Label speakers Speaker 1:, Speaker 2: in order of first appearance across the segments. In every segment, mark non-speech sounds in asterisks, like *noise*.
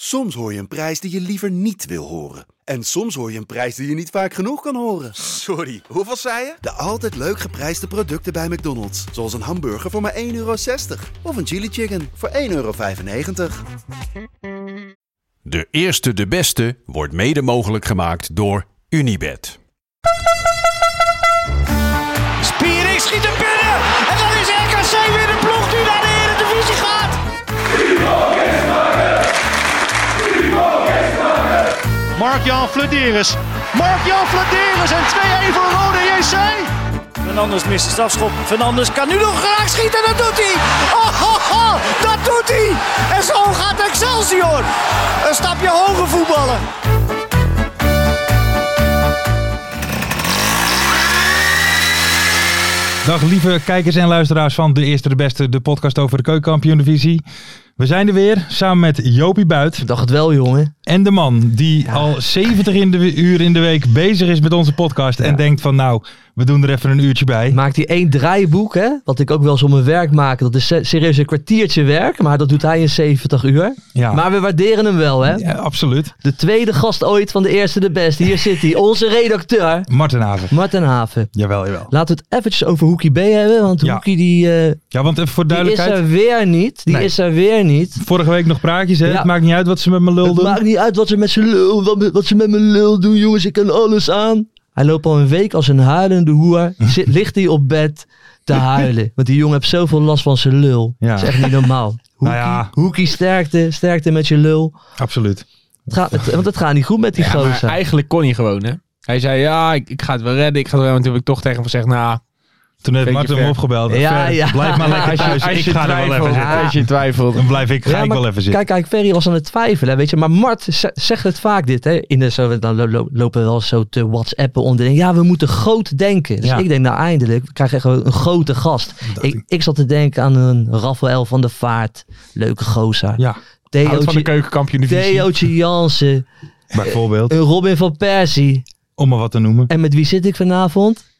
Speaker 1: Soms hoor je een prijs die je liever niet wil horen. En soms hoor je een prijs die je niet vaak genoeg kan horen.
Speaker 2: Sorry, hoeveel zei je?
Speaker 1: De altijd leuk geprijsde producten bij McDonald's. Zoals een hamburger voor maar 1,60 euro. Of een chili chicken voor 1,95 euro.
Speaker 3: De eerste de beste wordt mede mogelijk gemaakt door Unibed.
Speaker 4: Spiering schiet er binnen. En dan is RKC weer de ploeg die naar de Eredivisie gaat. Mark-Jan Flederis. Mark-Jan Flederis en 2-1 voor Rode JC. Fernandes mist de strafschop. Fernandes kan nu nog graag schieten. Dat doet hij. *laughs* Oh, oh, oh, dat doet hij. En zo gaat Excelsior. Een stapje hoger voetballen.
Speaker 5: Dag lieve kijkers en luisteraars van De Eerste de Beste, de podcast over de keukenkampioen-divisie. We zijn er weer, samen met Jopie Buit
Speaker 6: Dacht het wel, jongen.
Speaker 5: en de man die al 70 in de uur in de week bezig is met onze podcast en denkt van nou, we doen er even een uurtje bij.
Speaker 6: Maakt hij één draaiboek, hè? Wat ik ook wel eens om mijn werk maak. Dat is se- serieus een kwartiertje werk, maar dat doet hij in 70 uur.
Speaker 5: Ja.
Speaker 6: Maar we waarderen hem wel, hè?
Speaker 5: Ja, absoluut.
Speaker 6: De tweede gast ooit van de eerste de beste. Hier zit hij, onze redacteur,
Speaker 5: Marten Haven.
Speaker 6: Martin Haven.
Speaker 5: Jawel, jawel.
Speaker 6: Laten we het eventjes over Hoekie B hebben, want
Speaker 5: Ja.
Speaker 6: Hoekie die, eh,
Speaker 5: Ja, want even voor
Speaker 6: die is
Speaker 5: duidelijkheid.
Speaker 6: er weer niet. Die
Speaker 5: Nee.
Speaker 6: is er weer niet.
Speaker 5: Vorige week nog praatjes, hè?
Speaker 6: Ja.
Speaker 5: Het maakt niet uit wat ze met me
Speaker 6: Het
Speaker 5: lulden.
Speaker 6: maakt niet uit wat ze met zijn lul, wat, wat ze met mijn lul doen, jongens. Ik kan alles aan. Hij loopt al een week als een huilende hoer. Zit, ligt hij op bed te *laughs* huilen. Want die jongen heeft zoveel last van zijn lul.
Speaker 5: Ja.
Speaker 6: Dat is echt niet *laughs* normaal. Hoekie,
Speaker 5: ja.
Speaker 6: hoekie sterkte, sterkte met je lul.
Speaker 5: Absoluut.
Speaker 6: Het gaat, het- want het gaat niet goed met die
Speaker 7: Ja, maar
Speaker 6: gozer.
Speaker 7: eigenlijk kon hij gewoon, hè? Hij zei, ja, ik, ik ga het wel redden, ik ga het wel redden. En toen heb ik toch tegen hem gezegd, nou,
Speaker 5: Toen heeft
Speaker 7: Beetje
Speaker 5: Marten hem
Speaker 7: ver.
Speaker 5: opgebeld.
Speaker 6: Ja,
Speaker 5: Ver,
Speaker 6: ja.
Speaker 5: Blijf maar lekker thuis. ik ga er wel even
Speaker 7: twijfelt,
Speaker 5: zitten.
Speaker 7: als je twijfelt.
Speaker 5: Dan blijf ik, ga
Speaker 6: Ja,
Speaker 5: ik
Speaker 6: maar
Speaker 5: wel even zitten.
Speaker 6: Kijk, kijk, Ferry was aan het twijfelen, hè, weet je. Maar Mart z- zegt het vaak dit, hè. In de, zo, dan lo- lo- lopen we wel zo te whatsappen onder. Ja, we moeten groot denken. Dus
Speaker 5: Ja.
Speaker 6: ik denk, nou eindelijk, we krijgen echt een grote gast. Ik, ik zat te denken aan een Rafael van der Vaart. Leuke gozer.
Speaker 5: Ja,
Speaker 7: Houdt van de
Speaker 6: Theootje
Speaker 7: keukenkampioen divisie.
Speaker 6: Theootje Jansen.
Speaker 5: bijvoorbeeld.
Speaker 6: Een Robin van Persie.
Speaker 5: Om maar wat te noemen.
Speaker 6: En met wie zit ik vanavond?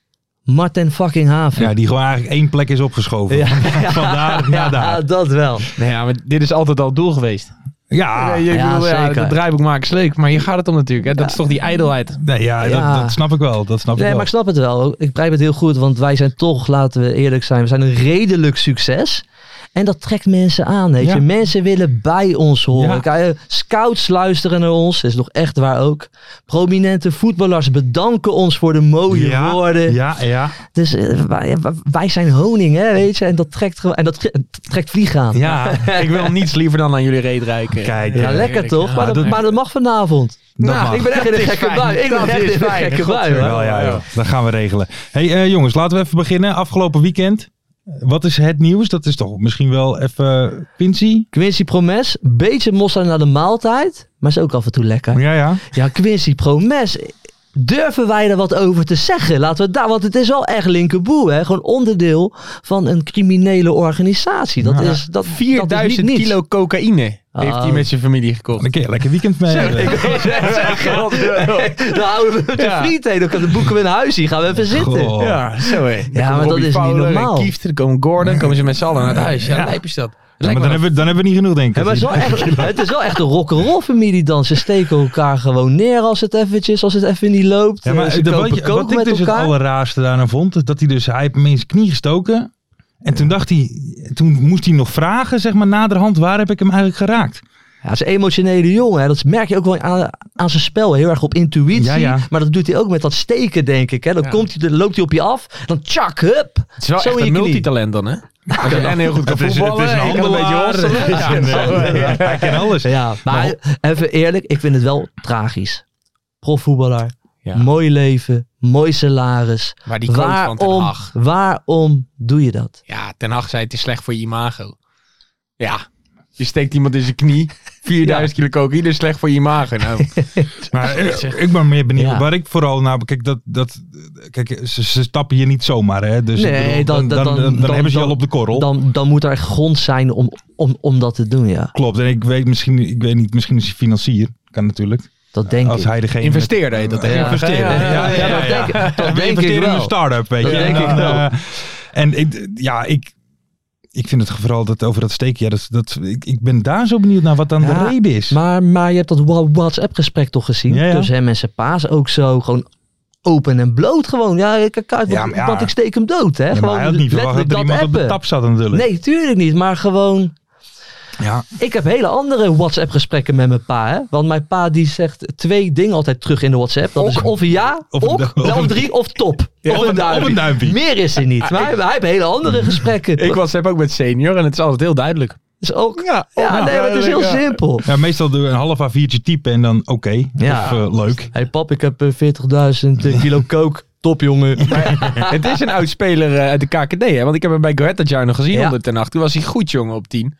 Speaker 6: Martin fucking Haven.
Speaker 5: Ja, die gewoon eigenlijk één plek is opgeschoven.
Speaker 6: Ja.
Speaker 5: *laughs* Vandaar het
Speaker 6: Ja,
Speaker 5: nada.
Speaker 6: dat wel.
Speaker 7: Nee, ja, maar dit is altijd al het doel geweest.
Speaker 5: Ja,
Speaker 7: Nee, je
Speaker 6: ja,
Speaker 7: bedoel, ja,
Speaker 6: zeker.
Speaker 7: het draaiboek maken is leuk, maar hier gaat het om natuurlijk. Hè? Dat is toch die ijdelheid.
Speaker 5: nee, ja,
Speaker 6: Ja.
Speaker 5: Dat, dat snap ik wel. Dat snap
Speaker 6: Nee,
Speaker 5: ik
Speaker 6: maar
Speaker 5: wel.
Speaker 6: ik snap het wel. Ik begrijp het heel goed, want wij zijn toch, laten we eerlijk zijn, we zijn een redelijk succes. En dat trekt mensen aan, weet
Speaker 5: Ja.
Speaker 6: je. Mensen willen bij ons horen.
Speaker 5: Ja.
Speaker 6: Kijk, eh, Scouts luisteren naar ons, dat is nog echt waar ook. Prominente voetballers bedanken ons voor de mooie
Speaker 5: ja,
Speaker 6: woorden.
Speaker 5: Ja, ja.
Speaker 6: Dus eh, wij, wij zijn honing, hè, weet je. En dat trekt, gewoon- en dat tre- trekt vliegen aan.
Speaker 5: Ja,
Speaker 7: ik wil niets liever dan aan jullie reet reiken.
Speaker 5: Kijk,
Speaker 6: eh, Ja,
Speaker 5: ja,
Speaker 6: lekker
Speaker 7: eerlijk,
Speaker 6: toch?
Speaker 7: ja.
Speaker 6: maar, dat,
Speaker 5: dat-
Speaker 6: maar dat mag vanavond.
Speaker 5: dat
Speaker 7: Nou,
Speaker 5: mag.
Speaker 6: Ik ben echt in een
Speaker 7: is
Speaker 6: gekke
Speaker 7: fijn.
Speaker 6: bui. Ik
Speaker 7: Dat
Speaker 6: ben echt
Speaker 7: is
Speaker 6: in een
Speaker 7: fijn.
Speaker 6: gekke bui,
Speaker 7: Godverdomme.
Speaker 6: hoor.
Speaker 5: Wel, ja,
Speaker 7: Ja.
Speaker 5: joh. Dat gaan we regelen. hey, eh, jongens, laten we even beginnen. Afgelopen weekend. Wat is het nieuws? Dat is toch misschien wel even Quincy?
Speaker 6: Quincy Promes, beetje mossa naar de maaltijd, maar is ook af en toe lekker.
Speaker 5: Ja, ja.
Speaker 6: Ja, Quincy Promes. Durven wij er wat over te zeggen? Laten we het daar, want het is wel echt linkerboe, hè? Gewoon onderdeel van een criminele organisatie. Dat
Speaker 5: Ja.
Speaker 6: is dat, dat is
Speaker 7: 4000
Speaker 6: niet niets. *laughs*
Speaker 7: kilo cocaïne heeft hij
Speaker 6: Oh.
Speaker 7: met zijn familie gekocht.
Speaker 5: *laughs* Dan kun je lekker weekend mee hebben.
Speaker 7: *laughs*
Speaker 6: Dan houden Nou, we hem te
Speaker 7: Ja.
Speaker 6: friet heen. Dan kunnen- boeken we een huis hier. Gaan we even zitten.
Speaker 5: Goh.
Speaker 7: Ja, zo hé. Dan
Speaker 6: maar
Speaker 7: komt
Speaker 6: dat
Speaker 7: Robbie
Speaker 6: is niet
Speaker 7: Fowler en
Speaker 6: normaal.
Speaker 7: Kieft, dan komen Gordon, dan komen ze met z'n allen naar het huis. Ja, lijp is dat.
Speaker 5: Ja, maar
Speaker 7: Lijkt
Speaker 5: dan
Speaker 7: me
Speaker 5: hebben, we, dan hebben we niet genoeg, denk ik.
Speaker 6: Ja, maar het, is wel echt, het is wel echt een rock'n'roll familiedans. Ze steken elkaar gewoon neer als het eventjes, als het even niet loopt.
Speaker 5: Ja, maar
Speaker 6: Ze
Speaker 5: dat
Speaker 6: kopen
Speaker 5: wat, je-
Speaker 6: coke
Speaker 5: wat ik
Speaker 6: met
Speaker 5: dus
Speaker 6: elkaar.
Speaker 5: het allerraarste daarna vond, is dat hij dus, hij heeft hem in zijn knie gestoken. En toen dacht hij, toen moest hij nog vragen, zeg maar, naderhand, waar heb ik hem eigenlijk geraakt?
Speaker 6: Ja, hij is een emotionele jongen. Hè. Dat merk je ook wel aan, aan zijn spel. Heel erg op intuïtie.
Speaker 5: Ja, ja.
Speaker 6: Maar dat doet hij ook met dat steken, denk ik. Hè. Dan,
Speaker 7: Ja.
Speaker 6: komt hij, dan loopt hij op je af. Dan tjak, hup.
Speaker 7: Het is wel
Speaker 6: Zo
Speaker 7: echt
Speaker 6: in je
Speaker 7: een
Speaker 6: knie.
Speaker 7: multitalent dan, hè? Als je en heel goed kan
Speaker 5: Het is-
Speaker 7: voetballen,
Speaker 5: het is een
Speaker 7: en je kan een beetje
Speaker 5: handelaar,
Speaker 7: hosselen.
Speaker 5: het is een,
Speaker 7: Ja, zo,
Speaker 5: eh,
Speaker 7: ja.
Speaker 5: Hij kent alles.
Speaker 6: Ja, maar even eerlijk. Ik vind het wel tragisch. Profvoetballer.
Speaker 7: Ja.
Speaker 6: Mooi leven. Mooi salaris.
Speaker 7: Maar die quote van Ten
Speaker 6: waarom,
Speaker 7: Hag.
Speaker 6: waarom doe je dat?
Speaker 7: Ja, Ten Hag zei het is slecht voor je imago. Ja, je steekt iemand in zijn *laughs* knie. 4000 kilo cocaïne is slecht voor je imago. *laughs* Nou,
Speaker 5: Maar ik, ik ben meer benieuwd.
Speaker 6: Ja.
Speaker 5: Waar ik vooral naar, kijk, dat, dat, kijk ze, ze stappen je niet zomaar, hè? Dus ik
Speaker 6: Nee,
Speaker 5: bedoel,
Speaker 6: dan-
Speaker 5: dan,
Speaker 6: dan-
Speaker 5: dan- dan
Speaker 6: dan-
Speaker 5: hebben ze je
Speaker 6: dan-
Speaker 5: al op de korrel.
Speaker 6: Dan, dan moet er echt grond zijn om, om, om dat te doen, ja.
Speaker 5: Klopt. En ik weet misschien, ik weet niet, misschien is hij financier. Kan natuurlijk.
Speaker 6: Dat denk
Speaker 5: Als
Speaker 6: ik.
Speaker 5: hij degene...
Speaker 7: investeerde heet dat hè?
Speaker 6: Ja.
Speaker 5: investeren.
Speaker 7: Ja, ja, ja,
Speaker 6: ja,
Speaker 7: ja,
Speaker 6: dat denk ik- dat
Speaker 5: We
Speaker 6: denk ik
Speaker 5: investeren in
Speaker 6: wel.
Speaker 5: een start-up, weet
Speaker 6: Dat
Speaker 5: je.
Speaker 6: denk
Speaker 5: eh, en dan,
Speaker 6: ik wel.
Speaker 5: eh, en ik, ja, ik, ik vind het vooral dat over dat steken. Ja, dat, dat, ik, ik ben daar zo benieuwd naar wat dan
Speaker 6: Ja,
Speaker 5: de reden is.
Speaker 6: Maar, maar je hebt dat wa- WhatsApp-gesprek toch gezien?
Speaker 5: Ja, ja.
Speaker 6: Tussen hem en zijn paas ook zo. Gewoon open en bloot gewoon. Ja, ik, ik, ik-
Speaker 5: Ja, maar ja.
Speaker 6: want ik steek hem dood. Hè?
Speaker 5: Ja, maar
Speaker 6: gewoon
Speaker 5: hij had niet verwacht dat er
Speaker 6: letterlijk
Speaker 5: iemand op de
Speaker 6: appen.
Speaker 5: tap zat natuurlijk.
Speaker 6: Nee, tuurlijk niet. Maar gewoon
Speaker 5: Ja,
Speaker 6: Ik heb hele andere WhatsApp-gesprekken met mijn pa. Hè? Want mijn pa die zegt twee dingen altijd terug in de WhatsApp. Dat is of ja,
Speaker 5: *laughs* Of
Speaker 6: of,
Speaker 5: een
Speaker 6: ok,
Speaker 5: du-
Speaker 6: nou,
Speaker 5: of
Speaker 6: of
Speaker 5: een-
Speaker 6: drie, of
Speaker 5: *laughs*
Speaker 6: top.
Speaker 5: of een- of een duimpje.
Speaker 6: Meer is er niet. Maar hij, hij heeft hele andere
Speaker 5: *laughs*
Speaker 6: gesprekken.
Speaker 7: Ik WhatsApp ook met senior en het is altijd heel duidelijk.
Speaker 6: Dus ook, ja,
Speaker 7: Ja, ja,
Speaker 6: nee, maar het is heel
Speaker 7: ja.
Speaker 6: simpel.
Speaker 5: Oh, nou, ja meestal doe je een half A4'tje typen en dan oké.
Speaker 6: Ja.
Speaker 5: Of eh, leuk.
Speaker 6: hey, pap, ik heb eh, 40.000
Speaker 5: *laughs*
Speaker 6: kilo coke. Top, jongen.
Speaker 7: het is een oudspeler eh, uit de KKD, hè? Want ik heb hem bij Go Ahead dat jaar nog gezien
Speaker 6: Ja.
Speaker 7: onder ten acht. Toen was hij goed, jongen, op 10.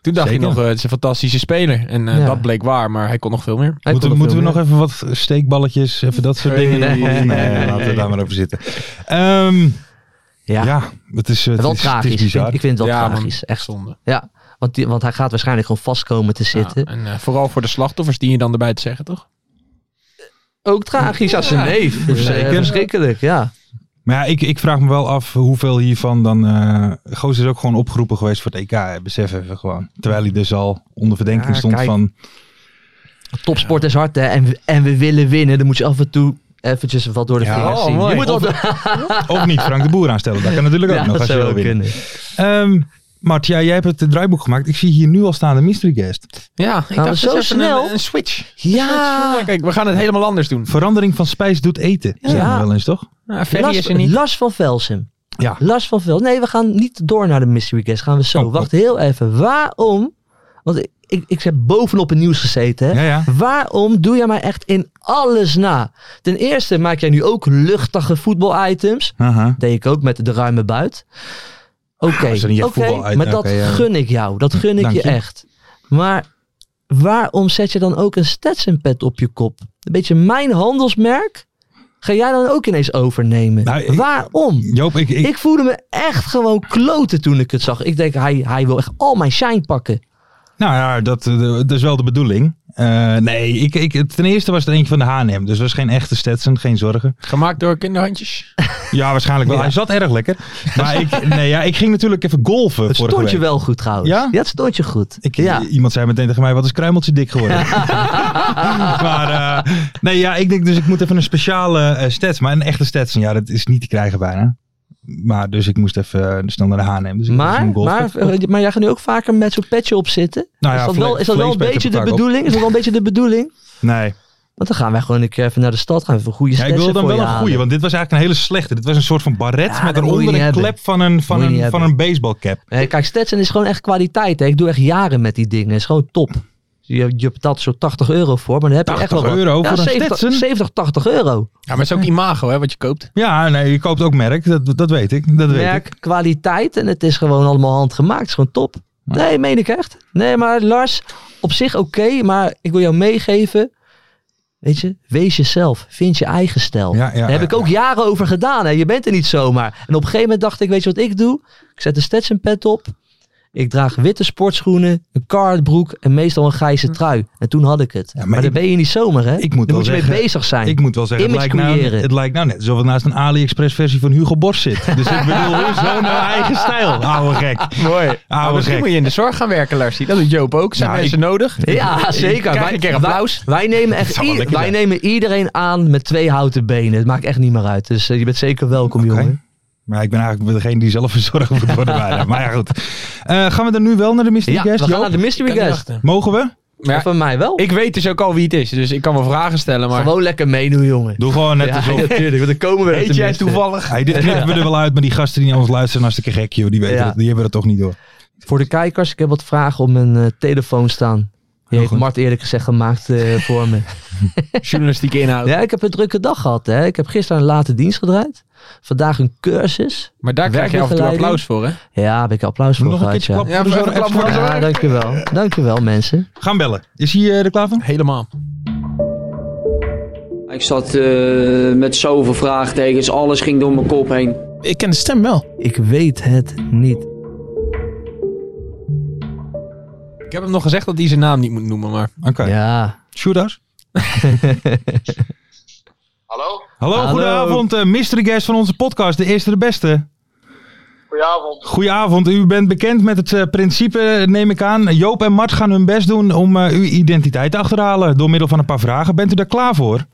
Speaker 7: Toen dacht
Speaker 5: Zeker.
Speaker 7: je nog, eh, het is een fantastische speler. En eh,
Speaker 6: Ja.
Speaker 7: dat bleek waar, maar hij kon nog veel meer.
Speaker 6: Hij
Speaker 5: moeten
Speaker 6: kon
Speaker 5: moeten we
Speaker 6: veel
Speaker 5: nog
Speaker 6: meer.
Speaker 5: even wat steekballetjes, even dat soort
Speaker 7: Nee.
Speaker 5: dingen doen? Of- Nee,
Speaker 6: *laughs*
Speaker 7: Nee.
Speaker 5: laten we daar maar over zitten. Ehm, ja.
Speaker 6: Ja,
Speaker 5: het is, het
Speaker 6: wel
Speaker 5: is, het
Speaker 6: tragisch.
Speaker 5: is
Speaker 6: Ik vind-
Speaker 5: bizar.
Speaker 6: ik vind het wel
Speaker 7: Ja, man.
Speaker 6: tragisch. Echt
Speaker 7: Zonde.
Speaker 6: Ja, want, die, want hij gaat waarschijnlijk gewoon vast komen te
Speaker 7: Ja,
Speaker 6: zitten.
Speaker 7: en eh, vooral voor de slachtoffers die je dan erbij te zeggen, toch?
Speaker 6: Ook tragisch als
Speaker 7: Ja.
Speaker 6: neef.
Speaker 5: Zeker.
Speaker 6: Zeker. Verschrikkelijk, ja.
Speaker 5: Maar ja, ik, ik vraag me wel af hoeveel hiervan dan... eh Goos is ook gewoon opgeroepen geweest voor het EK, hè, besef even gewoon. Terwijl hij dus al onder verdenking
Speaker 6: Ja,
Speaker 5: stond
Speaker 6: kijk.
Speaker 5: van...
Speaker 6: Topsport is hard, hè? En, en we willen winnen. Dan moet je af en toe eventjes wat door de
Speaker 5: Ja.
Speaker 6: vingers
Speaker 7: Oh,
Speaker 6: zien.
Speaker 7: mooi.
Speaker 6: Je moet
Speaker 7: Of- *laughs*
Speaker 6: altijd-
Speaker 5: Of niet Frank de Boer aanstellen, dat kan
Speaker 6: *laughs*
Speaker 5: natuurlijk ook
Speaker 6: Ja,
Speaker 5: nog
Speaker 6: dat
Speaker 5: als je
Speaker 6: zou
Speaker 5: wil
Speaker 6: wel
Speaker 5: winnen.
Speaker 6: kunnen.
Speaker 5: Ehm Mart, ja, jij hebt het eh, draaiboek gemaakt. Ik zie hier nu al staan de mystery guest.
Speaker 7: Ja, ik
Speaker 6: dacht,
Speaker 7: zo
Speaker 6: het is even een-
Speaker 7: snel.
Speaker 6: een
Speaker 7: switch.
Speaker 6: Ja.
Speaker 7: Kijk, we gaan het helemaal anders doen.
Speaker 5: Verandering van spijs doet eten, ja.
Speaker 6: Ja.
Speaker 5: wel eens, toch?
Speaker 7: Nou, Ferry
Speaker 6: Lars,
Speaker 7: is er niet.
Speaker 6: Lars van Velsen.
Speaker 5: Ja.
Speaker 6: Lars van Velsen. Nee, we gaan niet door naar de mystery guest. Gaan we zo.
Speaker 5: Oh, oh.
Speaker 6: Wacht heel even. Waarom? Want ik, ik, ik heb bovenop het nieuws gezeten. Hè?
Speaker 5: Ja, ja.
Speaker 6: Waarom doe jij mij echt in alles na? Ten eerste maak jij nu ook luchtige voetbalitems.
Speaker 5: Aha.
Speaker 6: deed ik ook met de ruime buit. Oké,
Speaker 5: dat Ah, is niet echt
Speaker 6: oké,
Speaker 5: voetbal uit-
Speaker 6: maar dat
Speaker 5: oké, ja.
Speaker 6: gun ik jou. Dat gun ik
Speaker 5: Dank
Speaker 6: je
Speaker 5: je.
Speaker 6: echt. Maar waarom zet je dan ook een Stetson-pet op je kop? Een beetje mijn handelsmerk ga jij dan ook ineens overnemen.
Speaker 5: Nou, ik-
Speaker 6: waarom?
Speaker 5: Joop, ik, ik,
Speaker 6: Ik voelde me echt gewoon kloten toen ik het zag. Ik denk, hij, hij wil echt al mijn shine pakken.
Speaker 5: Nou ja, dat, eh, dat is wel de bedoeling. Eh, nee, ik, ik, ten eerste was het eentje van de H&M. Dus was geen echte Stetson, geen zorgen.
Speaker 7: Gemaakt door kinderhandjes.
Speaker 5: Ja, waarschijnlijk wel. Hij zat erg lekker. Maar ik, nee, ja, ik ging natuurlijk even golven
Speaker 6: Het
Speaker 5: vorige
Speaker 6: stond je
Speaker 5: week.
Speaker 6: wel goed trouwens.
Speaker 5: Ja?
Speaker 6: het stond je goed.
Speaker 5: Ik,
Speaker 6: ja.
Speaker 5: Iemand zei meteen tegen mij, wat is kruimeltje dik geworden. *laughs* maar eh, nee, ja, ik denk dus ik moet even een speciale eh Stetson. Maar een echte Stetson, ja, dat is niet te krijgen bijna. Maar dus ik moest even eh, snel naar de H&M. Dus ik moest
Speaker 6: Maar,
Speaker 5: een golf.
Speaker 6: maar, maar jij gaat nu ook vaker met zo'n petje op zitten.
Speaker 5: Nou ja,
Speaker 6: is dat
Speaker 5: vle-
Speaker 6: wel, is dat wel een
Speaker 5: vleespet
Speaker 6: beetje
Speaker 5: heb ik
Speaker 6: de
Speaker 5: vaak op.
Speaker 6: bedoeling? Is dat wel een beetje de bedoeling?
Speaker 5: Nee.
Speaker 6: Want dan gaan wij gewoon een keer even naar de stad. Gaan we even goede
Speaker 5: Ja, ik
Speaker 6: stetsen
Speaker 5: wil dan
Speaker 6: voor
Speaker 5: wel
Speaker 6: je
Speaker 5: een
Speaker 6: halen.
Speaker 5: goede, want dit was eigenlijk een hele slechte. Dit was een soort van baret
Speaker 6: Ja,
Speaker 5: met
Speaker 6: dat moet je
Speaker 5: eronder
Speaker 6: niet
Speaker 5: een
Speaker 6: hebben.
Speaker 5: klep van een, van
Speaker 6: Moet je niet
Speaker 5: een, van
Speaker 6: hebben.
Speaker 5: een baseballcap.
Speaker 6: Eh, kijk, Stetson is gewoon echt kwaliteit. Hè. Ik doe echt jaren met die dingen. Het is gewoon top. Je, je betaalt zo'n 80 euro voor, maar dan heb je echt wel
Speaker 5: 80
Speaker 6: wat.
Speaker 5: euro
Speaker 6: ja,
Speaker 5: voor een
Speaker 6: 70,
Speaker 5: Stetson?
Speaker 6: 70, 80 euro.
Speaker 7: Ja, maar het is ook imago, hè, wat je koopt.
Speaker 5: Ja, nee, je koopt ook merk. Dat, dat weet ik. Dat weet ik.
Speaker 6: Merk, kwaliteit en het is gewoon allemaal handgemaakt. Het is gewoon top. Nee, meen ik echt. Nee, maar Lars, op zich oké, maar ik wil jou meegeven. Weet je, wees jezelf. Vind je eigen stijl.
Speaker 5: Ja, ja,
Speaker 6: Daar heb
Speaker 5: ja,
Speaker 6: ik ook jaren over gedaan. Hè. Je bent er niet zomaar. En op een gegeven moment dacht ik, weet je wat ik doe? Ik zet een Stetson pet op. Ik draag witte sportschoenen, een cardbroek en meestal een grijze trui. En toen had ik het.
Speaker 5: Hm. maar
Speaker 6: maar dan
Speaker 5: ik-
Speaker 6: ben je niet zomaar, hè?
Speaker 5: ik moet
Speaker 6: dan
Speaker 5: wel
Speaker 6: moet je
Speaker 5: zeggen,
Speaker 6: mee bezig zijn.
Speaker 5: Ik moet wel zeggen, het
Speaker 6: Image
Speaker 5: lijkt, nou,
Speaker 6: creëren.
Speaker 5: het lijkt nou net alsof het naast een AliExpress versie van Hugo Borst zit. *laughs* Dus ik bedoel, weer zo'n eigen stijl. Oude gek.
Speaker 7: Mooi.
Speaker 5: Oude
Speaker 7: misschien
Speaker 5: gek.
Speaker 7: moet je in de zorg gaan werken, Larsie. Dat doet Joop ook. Zijn
Speaker 5: Nou,
Speaker 7: mensen nodig?
Speaker 6: Ja, zeker.
Speaker 7: Kijk,
Speaker 6: Wij-
Speaker 7: een keer
Speaker 6: wij-
Speaker 7: applaus.
Speaker 6: Wij, *laughs* nemen echt
Speaker 5: zou wel
Speaker 6: i-
Speaker 5: lekker
Speaker 6: wij
Speaker 5: zijn.
Speaker 6: nemen iedereen aan met twee houten benen. Het maakt echt niet meer uit. Dus eh, je bent zeker welkom,
Speaker 5: Oké.
Speaker 6: jongen.
Speaker 5: Maar ik ben eigenlijk degene die zelf verzorgd moet worden *laughs* bijna. Maar ja, goed. Eh, gaan we dan nu wel naar de Mystery
Speaker 6: Ja, we
Speaker 5: Guest,
Speaker 6: gaan
Speaker 5: Joop?
Speaker 6: naar de mystery
Speaker 7: Kan niet
Speaker 6: guest.
Speaker 7: wachten.
Speaker 5: Mogen we?
Speaker 7: Maar ja,
Speaker 6: Van mij wel.
Speaker 7: ik weet dus ook al wie het is, dus ik kan wel vragen stellen, maar...
Speaker 6: Gewoon lekker meedoen, jongen.
Speaker 5: Doe gewoon net *laughs*
Speaker 6: Ja,
Speaker 5: alsof...
Speaker 6: natuurlijk. Want dan komen we
Speaker 7: Weet jij
Speaker 5: *laughs*
Speaker 7: toevallig?
Speaker 5: Hey, dit knippen we er wel uit, maar die gasten die naar ons luisteren, hartstikke gek, joh. Die, weten
Speaker 6: Ja.
Speaker 5: het- die hebben dat toch niet door.
Speaker 6: Voor de kijkers, ik heb wat vragen op mijn eh, telefoon staan. Die heeft
Speaker 5: goed.
Speaker 6: Mart eerlijk gezegd gemaakt *laughs* eh, voor me.
Speaker 7: Journalistieke inhoud.
Speaker 6: Ja, ik heb een drukke dag gehad. Hè. Ik heb gisteren een late dienst gedraaid. Vandaag een cursus.
Speaker 7: Maar daar krijg je af en toe
Speaker 6: Werkbegeleiding.
Speaker 7: applaus voor, hè?
Speaker 6: Ja, daar heb ik applaus voor
Speaker 5: Nog een
Speaker 6: gehad.
Speaker 5: keertje
Speaker 6: Ja.
Speaker 5: klap voor de
Speaker 7: Ja,
Speaker 5: zorg.
Speaker 7: even klap voor de
Speaker 5: Ja.
Speaker 6: ja, dankjewel. Dankjewel, mensen.
Speaker 5: Gaan bellen. Is hij eh, er klaar van?
Speaker 7: Helemaal.
Speaker 8: Ik zat eh, met zoveel vraagtekens, alles ging door mijn kop heen.
Speaker 9: Ik ken de stem wel.
Speaker 6: Ik weet het niet.
Speaker 7: Ik heb hem nog gezegd dat hij zijn naam niet moet noemen, maar...
Speaker 5: Oké.
Speaker 6: Ja.
Speaker 5: Shooters.
Speaker 10: Hallo?
Speaker 5: Hallo,
Speaker 6: Hallo.
Speaker 5: goedenavond. eh mystery guest van onze podcast, de eerste de beste.
Speaker 9: Goedenavond.
Speaker 5: Goedenavond, u bent bekend met het eh, principe, neem ik aan. Joop en Mart gaan hun best doen om eh, uw identiteit te achterhalen door middel van een paar vragen. Bent u daar klaar voor?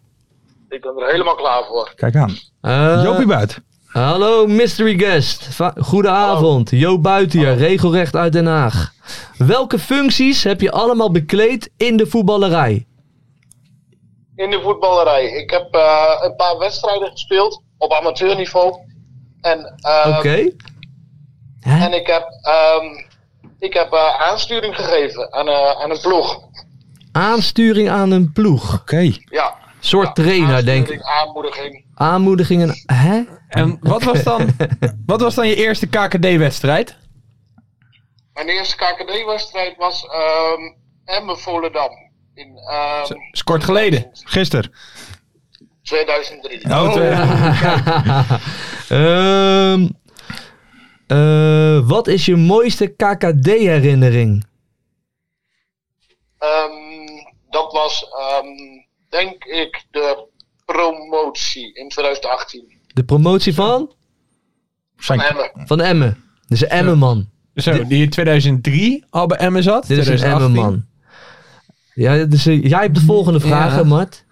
Speaker 9: Ik ben er helemaal klaar voor.
Speaker 5: Kijk aan.
Speaker 6: Eh,
Speaker 5: Joopie buiten.
Speaker 6: Hallo mystery guest. Va- Goedenavond. Joop Buiten hier, regelrecht uit Den Haag. Welke functies heb je allemaal bekleed in de voetballerij?
Speaker 9: In de voetballerij. Ik heb eh, een paar wedstrijden gespeeld op amateurniveau. En, eh,
Speaker 6: Oké. Hè?
Speaker 9: en ik heb, ehm, ik heb eh, aansturing gegeven aan, eh, aan een ploeg.
Speaker 6: Aansturing aan een ploeg.
Speaker 5: Oké.
Speaker 9: Ja.
Speaker 6: Soort trainer, denk ik.
Speaker 9: Aansturing, Aanmoediging.
Speaker 6: Aanmoedigingen. Hè?
Speaker 7: En wat was dan,
Speaker 6: *laughs*
Speaker 7: wat was dan je eerste KKD-wedstrijd?
Speaker 9: Mijn eerste KKD-wedstrijd was ehm Emmen Volendam. In ehm,
Speaker 7: Is kort geleden. Oh,
Speaker 5: Gisteren. Oh,
Speaker 9: 2003.
Speaker 6: Nou, Ehm, eh, wat is je mooiste KKD-herinnering?
Speaker 9: Ehm, dat was, ehm, denk ik, de promotie in 2018.
Speaker 6: De promotie van?
Speaker 9: Van Emmen.
Speaker 6: Van Emmen. Dus een Emmenman.
Speaker 7: Zo, die in 2003 al bij Emmen zat.
Speaker 6: Dit is een
Speaker 7: 2018.
Speaker 6: Emmenman. Ja, dus, eh, jij hebt de volgende vraag,
Speaker 7: Ja.
Speaker 6: hè, Mart.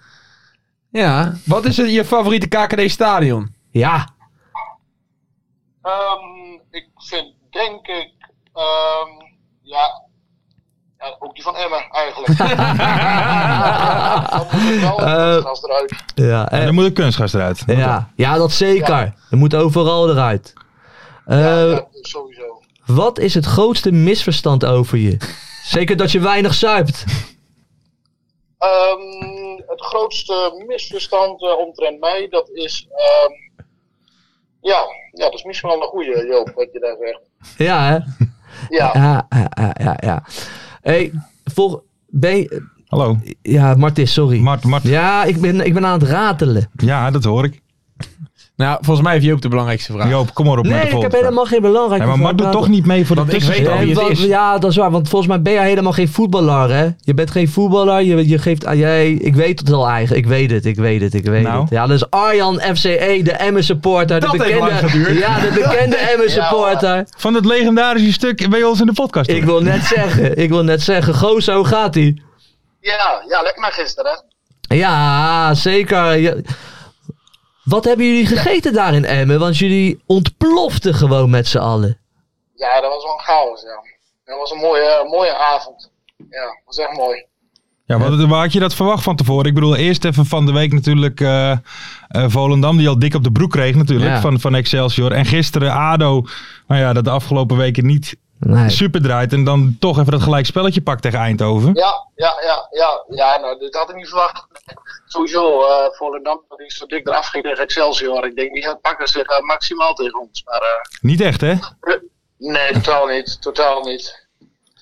Speaker 7: Ja. Wat is het, je favoriete KKD-stadion?
Speaker 6: Ja.
Speaker 9: Ehm, ik vind, denk ik, ehm, ja, ja, ook die van Emmen
Speaker 6: *laughs*
Speaker 9: eigenlijk. Dan moet ik wel
Speaker 6: Eh,
Speaker 9: een gast eruit.
Speaker 6: Ja, eh,
Speaker 5: Dan moet de kunstgast eruit.
Speaker 6: ja. ja dat zeker. Dat moet overal eruit. Eh,
Speaker 9: Ja, ja, sowieso.
Speaker 6: Wat is het grootste misverstand over je? Zeker dat je weinig zuipt.
Speaker 9: Ehm, het grootste misverstand eh, omtrent mij, dat is, ehm, ja, ja, dat is misschien wel een goede Joop, wat je daar zegt.
Speaker 6: Ja, hè?
Speaker 9: Ja.
Speaker 6: Ja, ja, ja, ja. ja. hey, vol, ben je-
Speaker 5: Hallo.
Speaker 6: Ja, Martis, sorry.
Speaker 5: Mart, Mart.
Speaker 6: ja, ik ben, ik ben aan het ratelen.
Speaker 5: Ja, dat hoor ik.
Speaker 7: Nou, volgens mij heeft Joop de belangrijkste vraag.
Speaker 5: Joop, kom maar op met de
Speaker 6: Nee, ik heb
Speaker 5: volgende
Speaker 6: helemaal geen
Speaker 5: vraag.
Speaker 6: belangrijke
Speaker 5: Nee, maar Mart doet
Speaker 6: vraag.
Speaker 5: toch niet mee voor de
Speaker 7: Want ik weet
Speaker 5: tussenstand.
Speaker 7: al wie het
Speaker 6: wa-
Speaker 7: is.
Speaker 6: Ja, dat is waar. Want volgens mij ben jij helemaal geen voetballer, hè? Je bent geen voetballer. Je, je geeft aan jij... Ik weet het al eigenlijk. Ik weet het, ik weet het, ik weet
Speaker 5: Nou?
Speaker 6: het. Ja, dat is Arjan FCE, de Emmen supporter.
Speaker 7: Dat
Speaker 6: de
Speaker 7: heeft
Speaker 6: bekende,
Speaker 7: lang geduurd.
Speaker 6: Ja, de
Speaker 7: *laughs*
Speaker 6: bekende Emmen supporter.
Speaker 5: Van het legendarische stuk bij ons in de podcast.
Speaker 6: Ik wil net zeggen, ik wil net zeggen. Gozo, hoe gaat ie?
Speaker 9: Ja, ja, lekker naar gisteren. hè?
Speaker 6: Ja, zeker. Ja. Wat hebben jullie gegeten daar in Emmen? Want jullie ontploften gewoon met z'n allen.
Speaker 9: Ja, dat was wel een chaos, ja. Dat was een mooie, mooie avond. Ja, dat was echt mooi.
Speaker 5: Ja, wat, waar had je dat verwacht van tevoren? Ik bedoel, eerst even van de week natuurlijk eh, eh, Volendam, die al dik op de broek kreeg natuurlijk
Speaker 6: Ja.
Speaker 5: van, van Excelsior. En gisteren ADO, nou ja, dat de afgelopen weken niet
Speaker 6: Nee.
Speaker 5: super draait. En dan toch even dat gelijk spelletje pakt tegen Eindhoven.
Speaker 9: Ja, ja, ja, ja, ja, nou, dit had ik niet verwacht. Sowieso, eh Volendam dat is zo dik eraf ging tegen Excelsior. Ik denk, die gaan pakken zich eh, maximaal tegen ons. Maar eh,
Speaker 5: Niet echt, hè?
Speaker 9: nee, totaal niet. Totaal niet.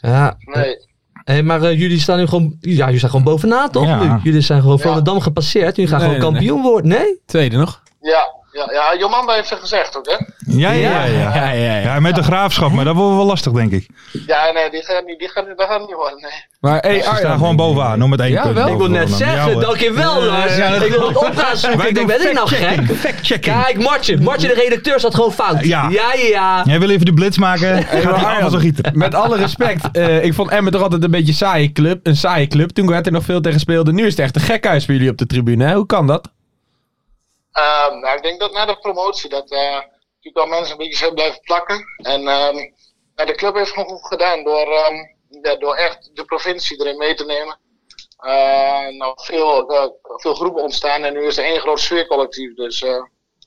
Speaker 6: Ja,
Speaker 9: Nee.
Speaker 6: Hé, maar eh, jullie staan nu gewoon, ja, jullie staan gewoon bovenaan toch
Speaker 5: Ja.
Speaker 6: nu? Jullie zijn gewoon
Speaker 9: Ja.
Speaker 6: Volendam gepasseerd. Jullie gaan
Speaker 7: Nee,
Speaker 6: gewoon
Speaker 7: nee,
Speaker 6: kampioen worden, nee?
Speaker 7: Tweede nog.
Speaker 9: Ja, ja, ja, Jomanda heeft het gezegd ook, hè?
Speaker 5: Ja, ja, ja. ja.
Speaker 7: ja, ja, ja.
Speaker 5: Ja, met de graafschap, maar dat wordt wel lastig, denk ik. Ze
Speaker 9: Ja, nee, die gaat niet, die gaat, dat gaat niet worden, nee.
Speaker 7: Maar hey,
Speaker 5: staan
Speaker 7: Arjan,
Speaker 5: gewoon bovenaan, om het één
Speaker 7: Ja,
Speaker 5: punt.
Speaker 7: wel.
Speaker 5: boven
Speaker 6: Ik wil net
Speaker 5: Volendam. Ja,
Speaker 6: zeggen,
Speaker 5: hoor.
Speaker 6: dankjewel Lars.
Speaker 5: ja, dat-
Speaker 6: ik wil het op gaan zoeken.
Speaker 5: Wij
Speaker 6: Ik
Speaker 5: doen
Speaker 6: denk, ben ik nou
Speaker 5: fact-checking,
Speaker 6: gek?
Speaker 5: Fact-checking.
Speaker 6: Kijk, Martje. Martje, de redacteur, zat gewoon fout.
Speaker 5: Ja.
Speaker 6: ja, ja. ja.
Speaker 5: Jij wil even de blitz maken, gaat
Speaker 7: maar
Speaker 5: hij af als een
Speaker 7: Arjan,
Speaker 5: gieter.
Speaker 7: Met alle respect, eh, ik vond Emmen toch altijd een beetje saaie club, een saaie club. Toen werd er nog veel tegen speelde. Nu is het echt een gekhuis bij jullie op de tribune. Hè? Hoe kan dat?
Speaker 9: Ehm, nou, ik denk dat na de promotie dat eh, natuurlijk wel mensen een beetje zijn blijven plakken. En ehm, ja, de club heeft nog goed gedaan door, ehm, ja, door echt de provincie erin mee te nemen. Eh, nou, veel, eh, veel groepen ontstaan en nu is er één groot sfeercollectief. Dus eh,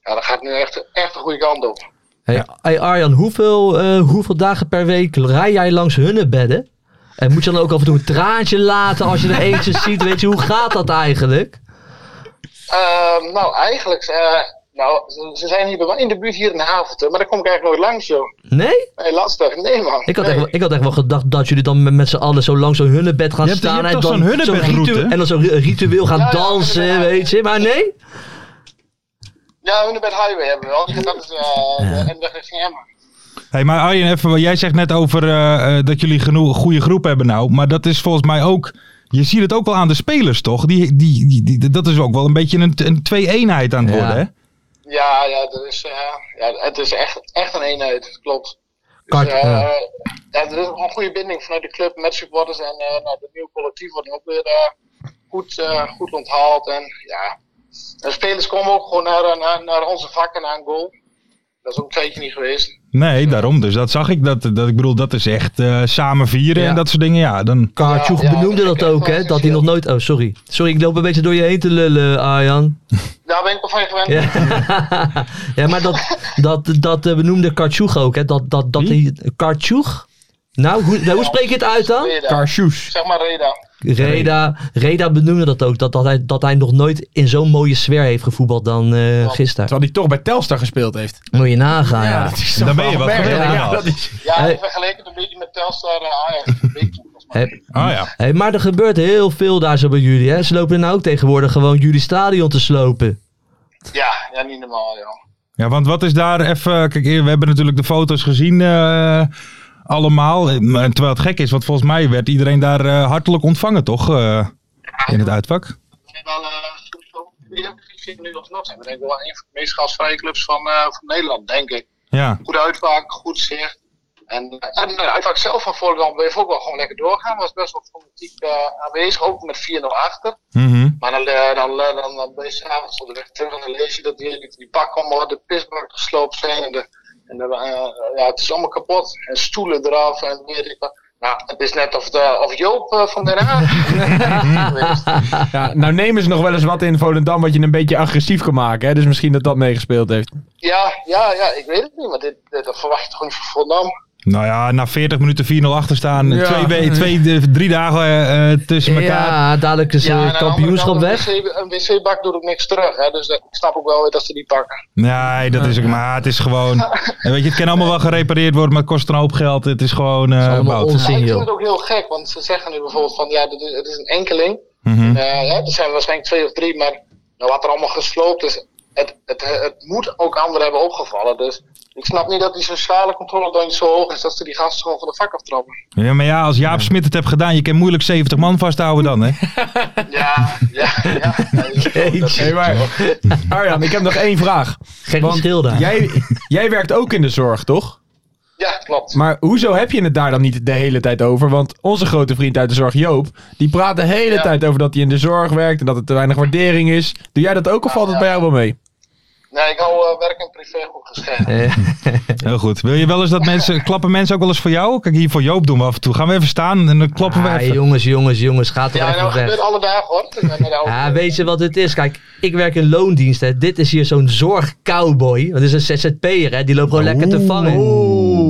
Speaker 9: ja, dat gaat nu echt, echt de goede kant op.
Speaker 6: Hey, hey, Arjan, hoeveel, eh, hoeveel dagen per week rij jij langs hunne bedden? En moet je dan ook af en toe een traantje laten als je er eentje ziet? Weet je, hoe gaat dat eigenlijk?
Speaker 9: Ehm, nou, eigenlijk, eh, nou, ze, ze zijn hier bij mij in de buurt hier in Havelte, maar daar kom ik eigenlijk nooit langs, joh.
Speaker 6: Nee?
Speaker 9: Nee, lastig. Nee, man.
Speaker 6: Ik had,
Speaker 9: nee.
Speaker 6: echt, wel- ik had echt wel gedacht dat jullie dan met, met z'n allen zo lang zo'n hunnebed gaan
Speaker 5: Je hebt- je
Speaker 6: staan.
Speaker 5: hebt
Speaker 6: en
Speaker 5: toch
Speaker 6: dan
Speaker 5: zo'n hunnebedroute?
Speaker 6: ritu- En dan zo'n ri- ritueel gaan
Speaker 9: Ja, ja,
Speaker 6: dansen,
Speaker 9: inderdaad.
Speaker 6: weet je. Maar nee?
Speaker 9: Ja, Hunebed Highway hebben we wel. Dat is eh de N-weg richting Emmen.
Speaker 5: Hey, maar Arjen, even, wat jij zegt net over eh, eh, dat jullie genoeg goede groep hebben nou. Maar dat is volgens mij ook... Je ziet het ook wel aan de spelers, toch? Die, die, die, die- dat is ook wel een beetje een, een twee-eenheid aan het
Speaker 6: Ja.
Speaker 5: worden, hè?
Speaker 9: Ja, ja, er is, eh, ja het is echt, echt een eenheid, klopt. Dus,
Speaker 7: Kart,
Speaker 9: eh,
Speaker 7: ja.
Speaker 9: ja, er is ook een goede binding vanuit de club met supporters en eh nou, het nieuwe collectief wordt ook weer eh, goed, eh, goed onthaald. En ja, de spelers komen ook gewoon naar, eh, naar, naar onze vakken, naar een goal. Dat is ook een tijdje niet geweest.
Speaker 5: Nee, daarom dus. Dat zag ik. Dat, dat, ik bedoel, dat is echt eh, samen vieren
Speaker 7: Ja.
Speaker 5: en dat soort dingen. Ja, dan...
Speaker 6: Kaartjoeg
Speaker 9: Ja, ja,
Speaker 6: benoemde
Speaker 9: dat
Speaker 6: dat
Speaker 9: is
Speaker 6: ook,
Speaker 9: wel
Speaker 6: hè? Dat hij nog nooit... Oh, sorry. Sorry, ik loop een beetje door je heen te lullen, Arjan.
Speaker 5: Oh.
Speaker 9: Daar ben ik wel van gewend.
Speaker 6: Ja, *laughs* ja maar dat, dat, dat eh, benoemde Kartjoeg ook, hè? Dat, dat, dat hij... Kartjoeg? Nou, hoe, nou, hoe spreek je het uit dan?
Speaker 9: Reda.
Speaker 7: Karsjoes.
Speaker 9: Zeg maar Reda.
Speaker 6: Reda, Reda benoemde dat ook. Dat, dat, hij, dat hij nog nooit in zo'n mooie sfeer heeft gevoetbald dan eh gisteren.
Speaker 7: Terwijl hij toch bij Telstar gespeeld heeft.
Speaker 6: Moet je nagaan, ja.
Speaker 7: is
Speaker 5: Dan
Speaker 7: toch
Speaker 5: ben je
Speaker 7: wel
Speaker 5: wat
Speaker 7: erg.
Speaker 6: gewend,
Speaker 7: Ja,
Speaker 5: ja.
Speaker 7: dat is...
Speaker 9: Ja,
Speaker 6: Hey.
Speaker 9: vergeleken een beetje met Telstar eh, Ajax. Een beetje, volgens mij.
Speaker 6: Hey,
Speaker 5: Oh ja.
Speaker 6: hey, maar er gebeurt heel veel daar zo bij jullie, hè? Ze lopen er nou ook tegenwoordig gewoon jullie stadion te slopen.
Speaker 9: Ja, ja, niet normaal, joh.
Speaker 5: Ja, want wat is daar even... Kijk, we hebben natuurlijk de foto's gezien eh, allemaal. Eh, maar Terwijl het gek is, want volgens mij werd iedereen daar eh, hartelijk ontvangen, toch? eh, in het uitvak.
Speaker 9: En dan eh, sowieso in de Eredivisie nu alsnog zijn. We denk ik wel een van de meest gastvrije clubs van, eh, van Nederland, denk ik.
Speaker 5: Ja.
Speaker 9: Goede uitvaak, goed zicht. En, eh, en de uitvaak zelf van Volendam bleef ook wel gewoon lekker doorgaan. Was best wel fanatiek eh, aanwezig, ook met 4-0 achter.
Speaker 5: Mhm.
Speaker 9: Maar dan, eh, dan, eh, dan, dan ben je s'avonds op de weg terug en dan lees je dat die, die pakken allemaal uit de pisbak gesloopt zijn. En, de, en de, eh, ja, het is allemaal kapot. En stoelen eraf en weet ik wat. Nou, het is net of, de, of Joop eh, van Den Haag.
Speaker 7: Ja, nou nemen ze nog wel eens wat in Volendam wat je een beetje agressief kan maken. Hè? Dus misschien dat dat meegespeeld heeft.
Speaker 9: ja, ja, ja, ik weet het niet, maar dit, dit, dat verwacht je toch niet van Volendam.
Speaker 5: Nou ja, na 40 minuten 4-0 achter staan.
Speaker 7: Ja.
Speaker 5: Twee, we- twee, eh, drie dagen eh, eh, tussen elkaar.
Speaker 6: Ja, dadelijk is
Speaker 9: en
Speaker 6: het
Speaker 9: aan de
Speaker 6: kampioenschap
Speaker 9: andere
Speaker 6: weg.
Speaker 9: kant, Een wc- een wc-bak doet ook niks terug, hè, dus dat, ik snap ook wel weer dat ze die pakken.
Speaker 5: Nee, dat is ook. Maar het is gewoon.
Speaker 9: *laughs*
Speaker 5: En weet je, het kan allemaal wel gerepareerd worden, maar het kost een hoop geld. Het is gewoon. eh,
Speaker 6: is allemaal
Speaker 5: bout.
Speaker 6: onzin.
Speaker 9: Maar ik
Speaker 6: joh.
Speaker 9: vind het ook heel gek, want ze zeggen nu bijvoorbeeld van ja, dit is, het is een enkeling.
Speaker 5: Mhm.
Speaker 9: Eh, ja, er zijn waarschijnlijk twee of drie, maar nou, wat er allemaal gesloopt is, het, het, het moet ook anderen hebben opgevallen. Dus ik snap niet dat die sociale controle dan niet zo hoog is dat ze die gasten gewoon van de vak aftrappen.
Speaker 5: Ja, maar ja, als Jaap Smit het hebt gedaan, je kan moeilijk 70 man vasthouden dan,
Speaker 6: *laughs*
Speaker 5: hè?
Speaker 9: *laughs* Ja, ja, ja.
Speaker 7: Hey, maar, Arjan, ik heb nog één vraag.
Speaker 6: Geen
Speaker 7: Want
Speaker 6: verschil
Speaker 5: Nou.
Speaker 6: daar.
Speaker 7: Jij, jij werkt ook in de zorg, toch?
Speaker 9: *laughs* Ja, klopt.
Speaker 7: Maar hoezo heb je het daar dan niet de hele tijd over? Want onze grote vriend uit de zorg, Joop, die praat de hele
Speaker 9: Ja.
Speaker 7: tijd over dat hij in de zorg werkt en dat er te weinig waardering is. Doe jij dat ook of valt het
Speaker 9: ja.
Speaker 7: bij jou wel mee?
Speaker 9: Nee, ik hou eh, werk en privé goed gescheiden.
Speaker 5: Heel goed. Wil je wel eens dat mensen. Klappen mensen ook wel eens voor jou? Kijk, hier voor Joop doen we af en toe. Gaan we even staan en dan klappen
Speaker 6: Ah,
Speaker 5: we even.
Speaker 6: jongens, jongens, jongens, gaat er
Speaker 9: Ja, nou,
Speaker 6: even
Speaker 9: dat gebeurt
Speaker 6: weg.
Speaker 9: alle dagen hoor. Ik ben met de
Speaker 6: *laughs*
Speaker 9: oude-
Speaker 6: Ja, weet je wat het is? Kijk, ik werk in loondienst. Hè. Dit is hier zo'n zorgcowboy. Dat is een ZZP'er, hè. Die loopt gewoon lekker te vangen.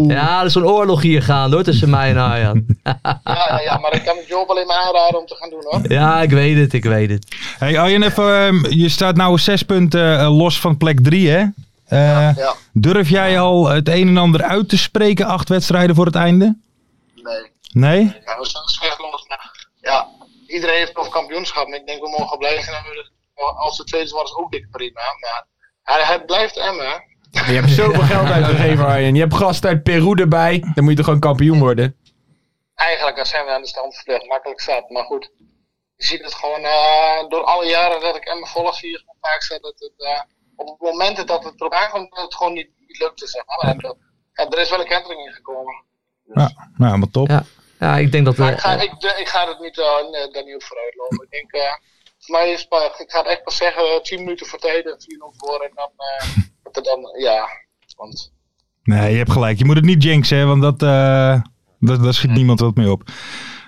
Speaker 6: Ja, er is zo'n oorlog hier gaande, hoor, tussen mij en Arjan.
Speaker 9: ja, ja, ja, maar ik kan het Job alleen maar aanraden om te gaan doen hoor.
Speaker 6: Ja, ik weet het, ik weet het.
Speaker 5: Hey, Arjen, even, ehm, je staat nou zes punten eh, los van plek drie, hè? Eh,
Speaker 9: Ja,
Speaker 5: Durf jij al het een en ander uit te spreken, acht wedstrijden voor het einde?
Speaker 9: nee.
Speaker 5: Nee?
Speaker 9: Ja, we staan slecht los. Maar ja, iedereen heeft nog kampioenschap. En ik denk we mogen blij zijn. dat we er- Als de tweede wordt is ook dik prima. Maar hij, hij blijft Emmen. hè.
Speaker 7: Je hebt zoveel geld uitgegeven, Arjen. Je hebt gast uit Peru erbij. Dan moet je toch gewoon kampioen worden?
Speaker 9: *laughs* Eigenlijk daar zijn we aan de stand verplicht. Makkelijk zat. Maar goed. Je ziet het gewoon eh, door alle jaren dat ik Emmen volg. Zie je gewoon vaak zo dat het eh, op het moment dat het erop aankomt. Dat het gewoon niet, niet lukte. Zeg maar. En dat- ja, er is wel een kentering in gekomen.
Speaker 5: Nou, maar top.
Speaker 6: Ja. Ja, ik denk dat we...
Speaker 9: Maar ik ga, ik, ik ga het niet, eh, nee, daar niet op vooruit lopen. Ik denk, eh, voor mij is pa- ik ga het echt pas zeggen, eh, 10 minuten voor tijd en 4 0 voor. En dan, eh,
Speaker 6: *laughs*
Speaker 9: dat er dan, ja, want
Speaker 5: Nee, je hebt gelijk. Je moet het niet jinxen, hè, want dat, eh, dat, daar schiet niemand wat mee op.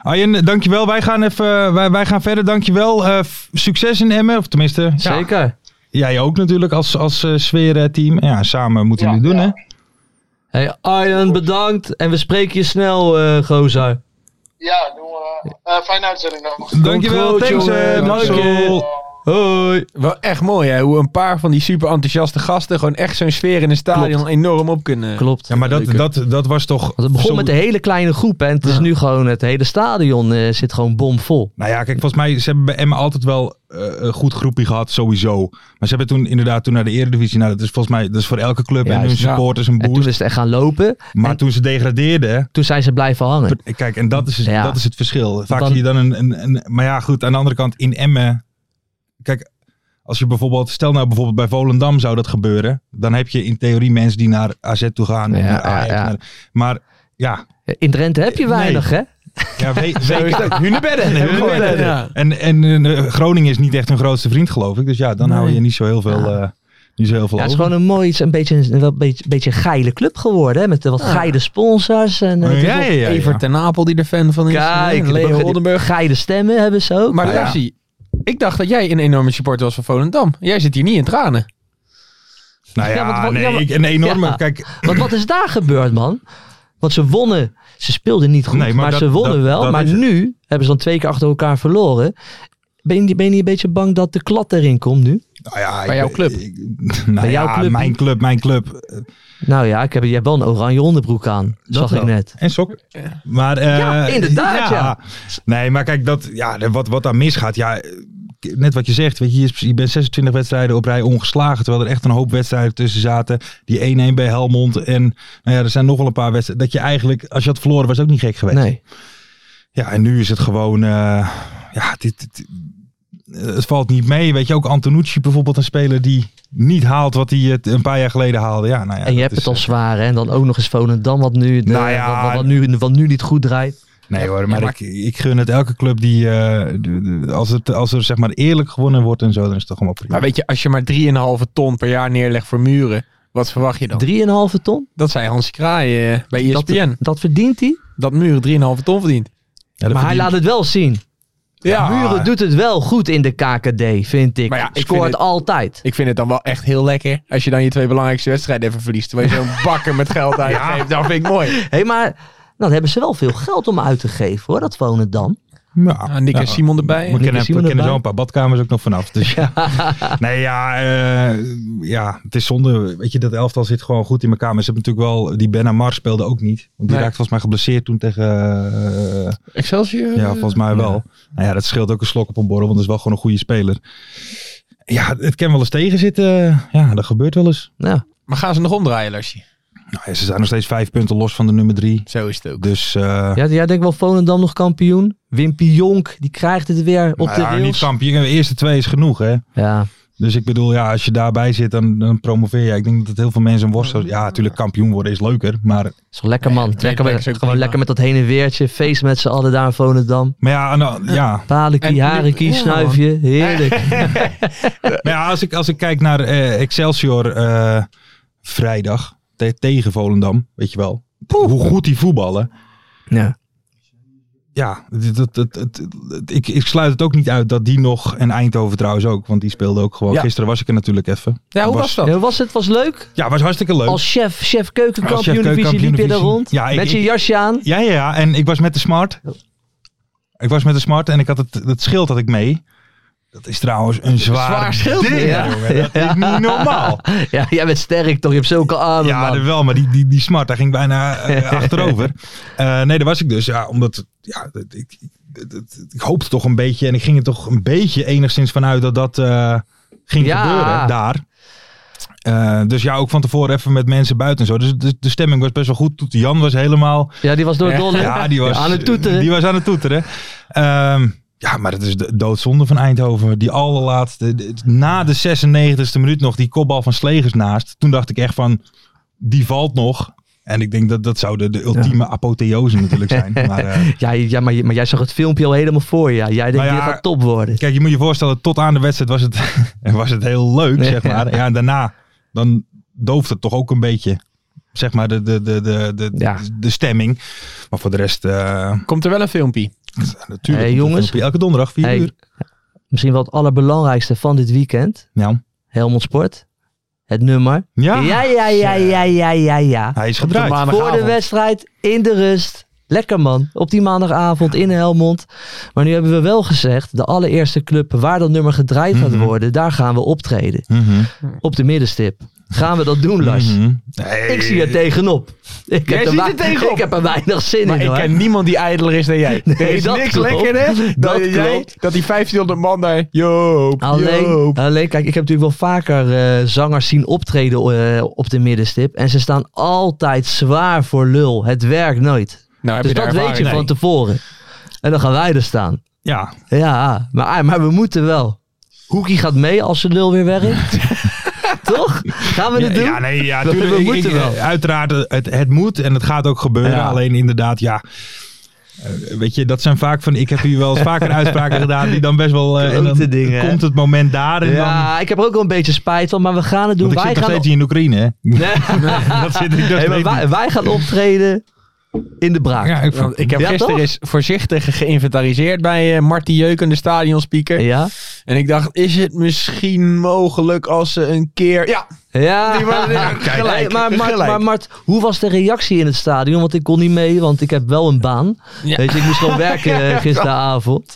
Speaker 5: Arjen, eh, dankjewel. Wij gaan, even, eh, wij, wij gaan verder. Dankjewel. Eh, f- succes in Emmen. Of tenminste, ja,
Speaker 6: Zeker.
Speaker 5: jij ook natuurlijk als, als eh, sfeerteam. Ja, samen moeten
Speaker 9: Ja,
Speaker 5: jullie het doen,
Speaker 9: ja.
Speaker 5: hè?
Speaker 6: Hey, Arjan, bedankt. En we spreken je snel, eh Gozer.
Speaker 9: ja, doen we, eh, fijne uitzending nog.
Speaker 5: Dankjewel.
Speaker 6: goed,
Speaker 5: Thanks,
Speaker 6: jongen.
Speaker 5: eh,
Speaker 6: Dank je.
Speaker 5: Marcel.
Speaker 7: Hoi. Wel echt mooi hè, hoe een paar van die super enthousiaste gasten gewoon echt zo'n sfeer in een stadion
Speaker 6: Klopt.
Speaker 7: enorm op kunnen.
Speaker 6: Klopt.
Speaker 5: Ja, maar dat, dat, dat was toch...
Speaker 6: Want het begon
Speaker 5: zo-
Speaker 6: met een hele kleine groep hè, en het is nu gewoon het hele stadion eh, zit gewoon bomvol.
Speaker 5: Nou ja, kijk, volgens mij ze hebben bij Emmen altijd wel eh, een goed groepje gehad, sowieso. Maar ze hebben toen inderdaad toen naar de Eredivisie... Nou, dat is volgens mij dat is voor elke club en
Speaker 6: Juist,
Speaker 5: hun
Speaker 6: ja.
Speaker 5: supporters een
Speaker 6: En toen
Speaker 5: boost.
Speaker 6: is het echt gaan lopen.
Speaker 5: maar
Speaker 6: en-
Speaker 5: toen ze degradeerden...
Speaker 6: Toen zijn ze blijven hangen.
Speaker 5: Per- eh, Kijk, en dat is,
Speaker 6: Ja.
Speaker 5: dat is het verschil. Vaak
Speaker 6: Dan-
Speaker 5: zie je dan een, een, een- Maar ja, goed, aan de andere kant, in Emmen... Kijk, Als je bijvoorbeeld, stel nou bijvoorbeeld bij Volendam zou dat gebeuren. Dan heb je in theorie mensen die naar AZ toe gaan. en
Speaker 6: Ja,
Speaker 5: naar Ajax,
Speaker 6: ja, ja.
Speaker 5: naar- maar ja,
Speaker 6: Eh, In Drenthe heb je
Speaker 5: Nee.
Speaker 6: weinig, hè? *laughs*
Speaker 5: ja we, we-
Speaker 7: Hunebedden.
Speaker 5: Nee, Hunebedden.
Speaker 7: Ja.
Speaker 5: En, en eh, Groningen is niet echt hun grootste vriend, geloof ik. Dus ja, dan hou je niet zo heel veel, eh niet zo heel veel
Speaker 6: Ja, het is
Speaker 5: over.
Speaker 6: gewoon een mooi, het is een beetje een, wel een beetje, beetje een geile club geworden. Hè? Met eh, wat geile sponsors. En, eh,
Speaker 5: ja, ja, ja, ja.
Speaker 7: Evert ten Apel die er fan van is.
Speaker 6: Kijk,
Speaker 7: Ja, Leo Oldenburg.
Speaker 6: geile stemmen hebben ze ook.
Speaker 7: Maar
Speaker 5: Ja, ja.
Speaker 7: Lassie, ik dacht dat jij een enorme supporter was van Volendam. Jij zit hier niet in tranen.
Speaker 5: Nou ja,
Speaker 6: Ja, want wat-
Speaker 5: nee,
Speaker 6: ja, maar-
Speaker 5: ik- een enorme...
Speaker 6: Ja.
Speaker 5: Kijk,
Speaker 6: Want wat is daar gebeurd, man? Want ze wonnen. Ze speelden niet goed,
Speaker 5: Nee, maar
Speaker 6: maar,
Speaker 5: dat-
Speaker 6: ze wonnen
Speaker 5: dat-
Speaker 6: wel.
Speaker 5: dat
Speaker 6: maar
Speaker 5: is het.
Speaker 6: nu hebben ze dan twee keer achter elkaar verloren. Ben je, niet- ben je niet een beetje bang dat de klad erin komt nu?
Speaker 5: nou ja,
Speaker 7: Bij
Speaker 5: ik-
Speaker 7: jouw club.
Speaker 5: ik- *laughs* nou
Speaker 6: Bij jouw
Speaker 5: ja,
Speaker 6: club
Speaker 5: mijn
Speaker 6: niet.
Speaker 5: club, mijn club.
Speaker 6: Nou ja, ik heb, je hebt wel een oranje onderbroek aan. zag
Speaker 5: wel.
Speaker 6: ik net.
Speaker 5: En sok. Maar, eh,
Speaker 6: Ja, inderdaad, ja.
Speaker 5: Nee, maar kijk, dat, ja, de- wat, wat daar misgaat, ja, eh, net wat je zegt, weet je, je is- je bent 26 wedstrijden op rij ongeslagen, terwijl er echt een hoop wedstrijden tussen zaten. Die 1-1 bij Helmond en nou ja, er zijn nog wel een paar wedstrijden. Dat je eigenlijk, als je had verloren, was het ook niet gek geweest.
Speaker 6: Nee.
Speaker 5: Ja, en nu is het gewoon, eh, ja, dit, dit- eh, het valt niet mee. Weet je, ook Antonucci bijvoorbeeld, een speler die niet haalt wat hij eh, een paar jaar geleden haalde. Ja, nou ja,
Speaker 6: en je
Speaker 5: dat
Speaker 6: hebt
Speaker 5: is,
Speaker 6: het al
Speaker 5: eh,
Speaker 6: zwaar, hè? En dan ook nog eens Volendam, wat nu, de-
Speaker 5: Nou ja.
Speaker 6: wat, wat, wat nu, wat nu niet goed draait.
Speaker 5: Nee hoor, maar, ik, ik gun het elke club die, eh, de- de- als, het, als er zeg maar eerlijk gewonnen wordt en zo, dan is het toch allemaal prima.
Speaker 7: Maar weet je, als je maar 3,5 ton per jaar neerlegt voor muren, wat verwacht je dan?
Speaker 6: 3,5 ton?
Speaker 7: Dat zei Hans Kraai eh, bij
Speaker 6: Dat,
Speaker 7: ESPN.
Speaker 6: dat verdient hij.
Speaker 7: Dat, muur muren 3,5 ton verdient.
Speaker 5: Ja, dat
Speaker 6: Maar hij
Speaker 5: verdient-
Speaker 6: laat het wel zien.
Speaker 7: Ja.
Speaker 6: Muren doet het wel goed in de KKD, vind ik.
Speaker 7: Maar ja, ik vind
Speaker 6: Scoort
Speaker 7: het-
Speaker 6: altijd.
Speaker 7: Ik vind het dan wel echt heel lekker als je dan je twee belangrijkste wedstrijden even verliest. Terwijl je *laughs* zo'n bakker met geld uitgeeft. Dat vind ik mooi.
Speaker 6: Hé, maar nou, dan hebben ze wel veel geld om uit te geven hoor, dat Volendam.
Speaker 5: Ja.
Speaker 7: Ah, Nick en Simon erbij.
Speaker 5: We
Speaker 7: Nick
Speaker 5: kennen,
Speaker 6: en Simon
Speaker 5: we kennen
Speaker 6: erbij.
Speaker 5: zo een paar badkamers ook nog vanaf. Dus *laughs* ja. nee, ja, eh, ja, het is zonde. Weet je, dat elftal zit gewoon goed in elkaar. Maar ze hebben natuurlijk wel, die Ben Amar speelde ook niet. Want die
Speaker 7: Nee.
Speaker 5: raakte volgens mij geblesseerd toen tegen, eh,
Speaker 7: Excelsior.
Speaker 5: ja, volgens mij wel. Nou ja, dat scheelt ook een slok op een borrel, want dat is wel gewoon een goede speler. Ja, het kan wel eens tegenzitten. Ja, dat gebeurt wel eens.
Speaker 6: Ja.
Speaker 7: Maar gaan ze nog omdraaien, Larsie?
Speaker 5: Nou ja, ze zijn nog steeds vijf punten los van de nummer drie.
Speaker 7: Zo is het ook.
Speaker 5: Dus eh,
Speaker 6: Ja, jij denkt wel Volendam nog kampioen? Wimpy Jonk, die krijgt het weer op
Speaker 5: nou
Speaker 6: de
Speaker 5: ja, niet
Speaker 6: rails.
Speaker 5: kampioen. De eerste twee is genoeg, hè?
Speaker 6: ja,
Speaker 5: Dus ik bedoel, ja, als je daarbij zit, dan, dan promoveer je. Ik denk dat heel veel mensen een worstel. Ja, natuurlijk, kampioen worden is leuker. Maar,
Speaker 6: is wel lekker man.
Speaker 7: de tweede
Speaker 6: lekker
Speaker 7: plek
Speaker 6: met,
Speaker 7: is ook
Speaker 6: gewoon
Speaker 7: prima.
Speaker 6: lekker met dat heen en weertje. Feest met z'n allen daar in Volendam.
Speaker 5: maar ja, nou, ja.
Speaker 7: En nu-
Speaker 6: Palenkie,
Speaker 5: Oh,
Speaker 6: harenkie,
Speaker 7: ja,
Speaker 6: snuifje.
Speaker 5: *laughs*
Speaker 6: Heerlijk.
Speaker 5: Maar ja, als ik, als ik kijk naar eh, Excelsior eh, vrijdag te- tegen Volendam, weet je wel. Hoe goed die voetballen.
Speaker 6: Ja.
Speaker 5: Ja, dit- dat, dat, dat- dat- ik, ik sluit het ook niet uit dat die nog, en Eindhoven trouwens ook, want die speelde ook gewoon.
Speaker 7: Ja.
Speaker 5: Gisteren was ik er natuurlijk even.
Speaker 7: Ja, hoe was dat?
Speaker 6: En hoe was het? Was leuk?
Speaker 5: Ja, was hartstikke leuk.
Speaker 6: Als chef, chef
Speaker 5: Als chef
Speaker 6: keukenkampioen divisie liep je daar
Speaker 5: keukenkampioendivisie.
Speaker 6: rond.
Speaker 5: Ja, ik-
Speaker 6: met je
Speaker 5: ik-
Speaker 6: jasje
Speaker 5: *laughs*
Speaker 6: aan.
Speaker 5: Ja, ja, ja. En ik was met de smart. Ik was met de smart en ik had het, dat schild had ik mee. Dat is trouwens een zwaar,
Speaker 7: zwaar schild,
Speaker 5: ding,
Speaker 6: ja.
Speaker 5: jongen. Dat is niet normaal.
Speaker 6: Ja, jij bent sterk toch? Je hebt zulke armen
Speaker 5: Ja,
Speaker 6: man.
Speaker 5: dat wel, maar die, die, die smart, daar ging bijna eh, achterover. Eh, nee, daar was ik dus. Ja, omdat ja, dat- ik, dat- dat- ik hoopte toch een beetje en ik ging er toch een beetje enigszins vanuit dat dat eh, ging
Speaker 6: Ja.
Speaker 5: gebeuren daar. Eh, dus ja, ook van tevoren even met mensen buiten en zo. Dus de, de stemming was best wel goed. Toet Jan was helemaal
Speaker 6: Ja, die was door het dolle.
Speaker 5: ja, die was
Speaker 6: aan het toeteren.
Speaker 5: Die was aan het toeteren. Ehm, ja, maar het is de doodzonde van Eindhoven. Die allerlaatste, de- na de 96e minuut nog, die kopbal van Slegers naast. Toen dacht ik echt van, die valt nog. En ik denk dat dat zou de, de ultieme apotheose
Speaker 6: *laughs*
Speaker 5: natuurlijk zijn. Maar, eh,
Speaker 6: Ja, ja maar, maar jij zag het filmpje al helemaal voor je. Ja. Jij denkt,
Speaker 5: Maar ja,
Speaker 6: dit gaat top worden.
Speaker 5: kijk, je moet je voorstellen, tot aan de wedstrijd was het, *laughs* was het heel leuk, zeg maar. Ja, en daarna, dan dooft het toch ook een beetje, zeg maar, de, de, de, de, de,
Speaker 6: Ja.
Speaker 5: de stemming. Maar voor de rest, eh,
Speaker 7: Komt er wel een filmpje?
Speaker 5: natuurlijk.
Speaker 6: Hey, jongens.
Speaker 5: Elke donderdag, vier
Speaker 6: Hey,
Speaker 5: uur.
Speaker 6: Misschien wel het allerbelangrijkste van dit weekend.
Speaker 5: Nou.
Speaker 6: Helmond Sport. Het nummer.
Speaker 5: Ja.
Speaker 6: Ja, ja, ja, ja, ja, ja, ja.
Speaker 5: Hij is
Speaker 7: Op de
Speaker 5: gedraaid.
Speaker 7: maandagavond.
Speaker 6: Voor de wedstrijd, in de rust. Lekker man, op die maandagavond in Helmond. Maar nu hebben we wel gezegd, de allereerste club waar dat nummer gedraaid gaat
Speaker 5: Mhm.
Speaker 6: worden, daar gaan we optreden.
Speaker 5: Mhm.
Speaker 6: Op de middenstip. Gaan we dat doen, Lars?
Speaker 5: Mhm.
Speaker 6: Ik zie er tegenop. Ik
Speaker 7: Jij
Speaker 6: heb, er
Speaker 7: ziet
Speaker 6: wei-
Speaker 7: er tegenop.
Speaker 6: ik heb er weinig *laughs* zin
Speaker 7: Maar
Speaker 6: in
Speaker 7: ik
Speaker 6: hoor.
Speaker 7: ken niemand die ijdeler is dan
Speaker 6: *laughs*
Speaker 7: jij. er is
Speaker 6: dat
Speaker 7: niks
Speaker 6: klopt.
Speaker 7: lekkerder dan
Speaker 6: Dat
Speaker 7: jij,
Speaker 6: klopt.
Speaker 7: dat die 1500 man daar... Joop,
Speaker 6: Alleen,
Speaker 7: Joop.
Speaker 6: alleen, kijk, ik heb natuurlijk wel vaker eh, zangers zien optreden eh, op de middenstip. En ze staan altijd zwaar voor lul. Het werkt nooit.
Speaker 7: Nou, heb
Speaker 6: dus
Speaker 7: je daar
Speaker 6: dat weet je
Speaker 7: ervaring
Speaker 6: van
Speaker 7: mee?
Speaker 6: tevoren. En dan gaan wij er staan.
Speaker 5: Ja,
Speaker 6: Ja, maar, maar we ah, moeten wel. Hoekie gaat mee als de lul weer
Speaker 5: *laughs*
Speaker 6: werkt. Toch? Gaan we
Speaker 5: Ja,
Speaker 6: dit doen?
Speaker 5: ja, nee, ja,
Speaker 6: Dat
Speaker 5: tuurlijk,
Speaker 6: we
Speaker 5: ik-
Speaker 6: moeten
Speaker 5: ik- eh,
Speaker 6: wel.
Speaker 5: Uiteraard, het, het moet en het gaat ook gebeuren.
Speaker 6: Ja.
Speaker 5: Alleen inderdaad, ja. eh, Weet je, dat zijn vaak van. Ik heb hier wel eens
Speaker 6: *laughs*
Speaker 5: vaker uitspraken gedaan. die dan best wel. eh, en dan
Speaker 6: Klote dingen, hè?
Speaker 5: komt het moment daar. En dan,
Speaker 6: Ja, ik heb er ook wel een beetje spijt van, maar we gaan het doen.
Speaker 5: want ik
Speaker 6: wij
Speaker 5: zit nog
Speaker 6: gaan
Speaker 5: steeds hier in Oekraïne. hè.
Speaker 6: *laughs*
Speaker 5: *laughs*
Speaker 6: Nee.
Speaker 5: Dat zit ik nog
Speaker 6: Hey, maar
Speaker 5: steeds
Speaker 6: wij,
Speaker 5: niet.
Speaker 6: wij gaan optreden in de braak.
Speaker 5: Ja,
Speaker 6: Ja.
Speaker 5: ik vond-
Speaker 7: Want ik heb
Speaker 6: Ja,
Speaker 7: gisteren
Speaker 6: toch?
Speaker 7: eens voorzichtig geïnventariseerd bij eh Marty Jeuken, de stadionspeaker.
Speaker 6: Ja.
Speaker 7: En ik dacht, is het misschien mogelijk als ze een keer... Ja,
Speaker 5: *laughs*
Speaker 7: die
Speaker 6: *laughs*
Speaker 7: waren gelijk.
Speaker 6: Hey, maar, Mart,
Speaker 7: gelijk.
Speaker 6: maar Mart, hoe was de reactie in het stadion? Want ik kon niet mee, want ik heb wel een baan.
Speaker 7: Ja.
Speaker 6: Weet je, ik moest gewoon werken
Speaker 5: *laughs*
Speaker 6: eh, gisteravond.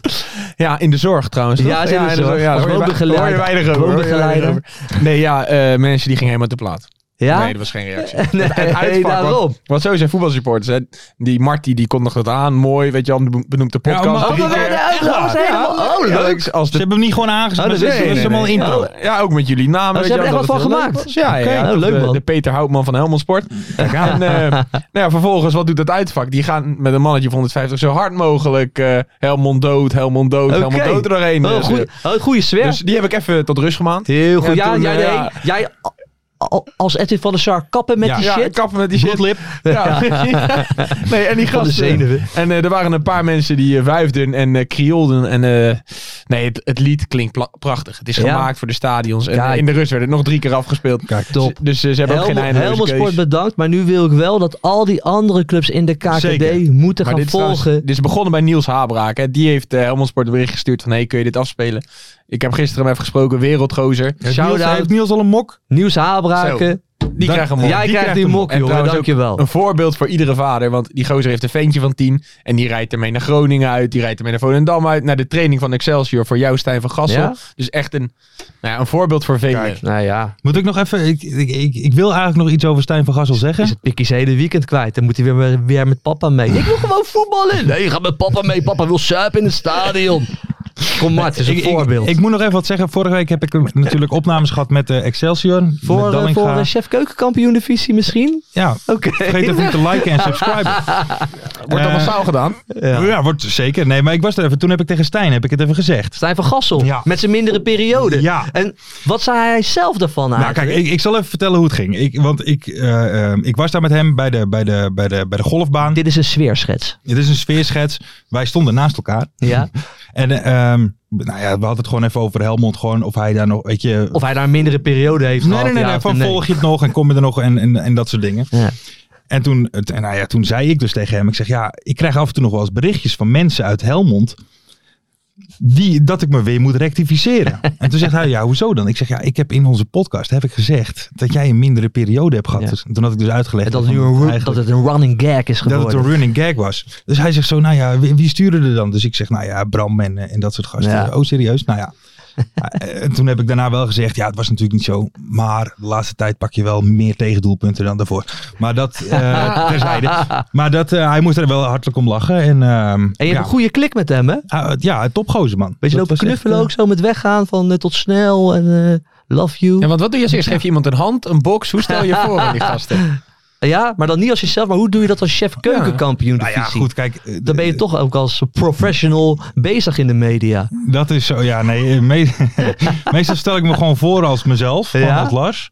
Speaker 7: Ja, in de zorg trouwens. toch?
Speaker 6: Ja, ze in de zorg.
Speaker 7: Ja,
Speaker 6: Als
Speaker 7: hoor je
Speaker 6: gewoon
Speaker 7: wei-
Speaker 6: begeleider.
Speaker 7: hoor je weinig over,
Speaker 6: Gewoon
Speaker 7: hoor je weinig
Speaker 6: begeleider.
Speaker 7: over. Nee, ja, eh, mensen die gingen helemaal te plaat.
Speaker 6: Ja?
Speaker 7: *laughs* Nee, dat was geen reactie.
Speaker 6: Nee,
Speaker 7: Het uitvak,
Speaker 6: hey,
Speaker 7: want-
Speaker 6: daarom.
Speaker 7: Want, zo zijn voetbalsupporters. Hè. Die Marty die kondigt het aan. Mooi, weet je wel, de benoemde podcast.
Speaker 5: maar- Oh,
Speaker 7: drie
Speaker 6: maar wij-
Speaker 7: keer.
Speaker 6: dat was
Speaker 7: Echt waar?
Speaker 6: helemaal-
Speaker 7: Ja,
Speaker 6: oh,
Speaker 7: ja,
Speaker 6: leuk.
Speaker 7: Als
Speaker 5: Ze
Speaker 7: de,
Speaker 5: hebben hem niet gewoon aangezet.
Speaker 6: Oh, dat
Speaker 5: ze
Speaker 6: wisten
Speaker 5: hebben
Speaker 6: we
Speaker 5: hem
Speaker 6: niet.
Speaker 5: allemaal in.
Speaker 6: Oh.
Speaker 7: ja, ook met jullie namen.
Speaker 6: Oh, ze
Speaker 7: weet je
Speaker 6: hebben
Speaker 7: wel,
Speaker 6: echt
Speaker 7: dat
Speaker 6: wat van
Speaker 7: het heel leuk
Speaker 6: gemaakt.
Speaker 7: was. Ja, ja,
Speaker 6: Oké.
Speaker 7: ja,
Speaker 6: Oh,
Speaker 7: tot
Speaker 6: leuk,
Speaker 7: de-
Speaker 6: man.
Speaker 7: De Peter Houtman van Helmond Sport.
Speaker 6: *laughs*
Speaker 7: En, eh, nou ja, vervolgens, wat doet dat uitvak? Die gaan met een mannetje van 150 zo hard mogelijk. eh, Helmond dood, Helmond dood,
Speaker 6: Oké.
Speaker 7: Helmond dood er doorheen.
Speaker 6: Oh,
Speaker 7: eh,
Speaker 6: goeie- oh, goede sfeer.
Speaker 7: Dus die heb ik even tot rust gemaand.
Speaker 6: Heel goed.
Speaker 7: En
Speaker 6: Ja,
Speaker 7: toen,
Speaker 6: ja,
Speaker 7: eh,
Speaker 6: nee.
Speaker 7: ja.
Speaker 6: Jij a- a- als Edwin van der Sar kappen met
Speaker 5: Ja.
Speaker 6: die
Speaker 7: Ja,
Speaker 6: shit.
Speaker 7: kappen met die shit. Ja. *laughs* nee, en die
Speaker 6: Van de
Speaker 7: gasten.
Speaker 6: zenuwen.
Speaker 7: En eh, er waren een paar mensen die eh, wuifden en eh krioelden. En eh, nee, het, het lied klinkt pla- prachtig. Het is
Speaker 6: Ja.
Speaker 7: gemaakt voor de stadions. En eh,
Speaker 6: Kijk.
Speaker 7: in de rust werd het nog drie keer afgespeeld.
Speaker 5: Kijk,
Speaker 6: Top.
Speaker 7: Dus, dus, eh, ze hebben ook geen
Speaker 6: Helmond-
Speaker 7: einde
Speaker 6: Helmond Sport bedankt, maar nu wil ik wel dat al die andere clubs in de KKD
Speaker 5: Zeker.
Speaker 6: moeten
Speaker 7: maar
Speaker 6: gaan
Speaker 7: dit is,
Speaker 6: volgen.
Speaker 7: trouwens- dit is begonnen bij Niels Habraak. Hè. Die heeft eh, Helmond Sport een bericht gestuurd van... hey, kun je dit afspelen? Ik heb gisteren hem even gesproken. Wereldgozer.
Speaker 5: Heeft
Speaker 6: Shout-out.
Speaker 5: Niels, heeft Niels al een mok?
Speaker 6: Nieuws Habraken.
Speaker 7: Die krijgt hem op.
Speaker 6: Jij krijgt die
Speaker 5: hem
Speaker 6: mok,
Speaker 7: En
Speaker 6: jongen.
Speaker 7: trouwens ook
Speaker 6: Dankjewel.
Speaker 7: Een voorbeeld voor iedere vader. Want die gozer heeft een ventje van 10. En die rijdt ermee naar Groningen uit. Die rijdt ermee naar Volendam uit. Naar de training van Excelsior voor jou, Stijn van Gassel.
Speaker 6: Ja?
Speaker 7: Dus echt een, nou ja, een voorbeeld voor velen.
Speaker 6: Nou ja,
Speaker 5: Moet ik nog even. Ik, ik, ik, ik wil eigenlijk nog iets over Stijn van Gassel
Speaker 6: is
Speaker 5: zeggen.
Speaker 6: het Pikkies hele weekend kwijt. Dan moet hij weer, met- weer met papa mee. Ik wil gewoon voetballen. Nee, ga met papa mee. Papa wil suipen in het stadion. Kom maar, het is een
Speaker 5: ik, ik-
Speaker 6: voorbeeld.
Speaker 5: Ik, moet nog even wat zeggen. Vorige week heb ik eh, natuurlijk opnames gehad met eh, Excelsior.
Speaker 6: voor
Speaker 5: met
Speaker 6: eh,
Speaker 5: Dallinga.
Speaker 6: voor eh, chef keukenkampioen divisie misschien?
Speaker 5: Ja,
Speaker 6: Oké.
Speaker 5: vergeet even te liken en
Speaker 6: *laughs*
Speaker 5: subscriben.
Speaker 7: Wordt
Speaker 5: Eh,
Speaker 7: al massaal gedaan.
Speaker 5: Ja. wordt zeker. Nee, maar ik was er even. Toen heb ik tegen Stijn heb ik het even gezegd.
Speaker 6: Stijn van Gassel.
Speaker 5: Ja.
Speaker 6: Met zijn mindere periode.
Speaker 5: Ja.
Speaker 6: En wat zei hij zelf daarvan
Speaker 5: Nou,
Speaker 6: eigenlijk?
Speaker 5: kijk, ik, ik zal even vertellen hoe het ging. Ik, want ik, eh, eh, ik was daar met hem bij de, bij de, bij de, bij de golfbaan.
Speaker 6: Dit is een sfeerschets.
Speaker 5: Dit is een sfeerschets. Wij stonden naast elkaar.
Speaker 6: *laughs* Ja?
Speaker 5: En eh, ehm, nou ja, we hadden het gewoon even over Helmond. Gewoon of hij daar nog, weet je...
Speaker 6: Of hij daar een mindere periode heeft
Speaker 5: nee,
Speaker 6: gehad.
Speaker 5: nee, nee,
Speaker 6: ja,
Speaker 5: nee,
Speaker 6: of
Speaker 5: Van volg je het nog en kom je er nog en, en, en dat soort dingen.
Speaker 6: Ja.
Speaker 5: En toen, het- en nou ja, toen zei ik dus tegen hem, ik zeg ja, ik krijg af en toe nog wel eens berichtjes van mensen uit Helmond. Die, dat ik me weer moet rectificeren. En toen zegt hij, ja, hoezo dan? Ik zeg, ja, ik heb in onze podcast heb ik gezegd dat jij een mindere periode hebt gehad.
Speaker 6: Ja.
Speaker 5: Dus toen had ik dus uitgelegd
Speaker 6: En dat, het
Speaker 5: van,
Speaker 6: nu een, ru-
Speaker 5: eigenlijk-
Speaker 6: dat het een running gag is
Speaker 5: dat
Speaker 6: geworden.
Speaker 5: het een running gag was. Dus hij zegt zo, nou ja, wie, wie stuurde er dan? Dus ik zeg, nou ja, Bram en, eh, en dat soort gasten.
Speaker 6: Ja.
Speaker 5: Oh, serieus? Nou
Speaker 6: *laughs*
Speaker 5: ja. Ja, eh, En toen heb ik daarna wel gezegd, ja, het was natuurlijk niet zo. Maar de laatste tijd pak je wel meer tegendoelpunten dan daarvoor. Maar dat,
Speaker 6: *laughs*
Speaker 5: eh, terzijde. Maar dat, eh, hij moest er wel hartelijk om lachen. En, ehm,
Speaker 6: En je
Speaker 5: ja,
Speaker 6: hebt een goede klik met hem, hè?
Speaker 5: Ah, ja, topgozer man.
Speaker 6: Weet je,
Speaker 5: Dat
Speaker 6: lopen
Speaker 5: was echt,
Speaker 6: knuffelen
Speaker 5: eh,
Speaker 6: ook zo met weggaan van eh, tot snel en eh, love you.
Speaker 7: Ja,
Speaker 6: Ja,
Speaker 7: want wat doe je als eerst? Geef je iemand een hand, een box? Hoe stel je voor aan die gasten?
Speaker 6: maar dan niet als jezelf, maar hoe doe je dat als chef keukenkampioen
Speaker 5: Nou ja,
Speaker 6: divisie?
Speaker 5: goed, kijk. eh,
Speaker 6: Dan ben je toch ook als professional bezig in de media.
Speaker 5: Dat is zo, ja, nee. eh,
Speaker 6: *laughs*
Speaker 5: me- meestal stel ik me gewoon voor als mezelf, van
Speaker 6: Ja?
Speaker 5: dat Lars.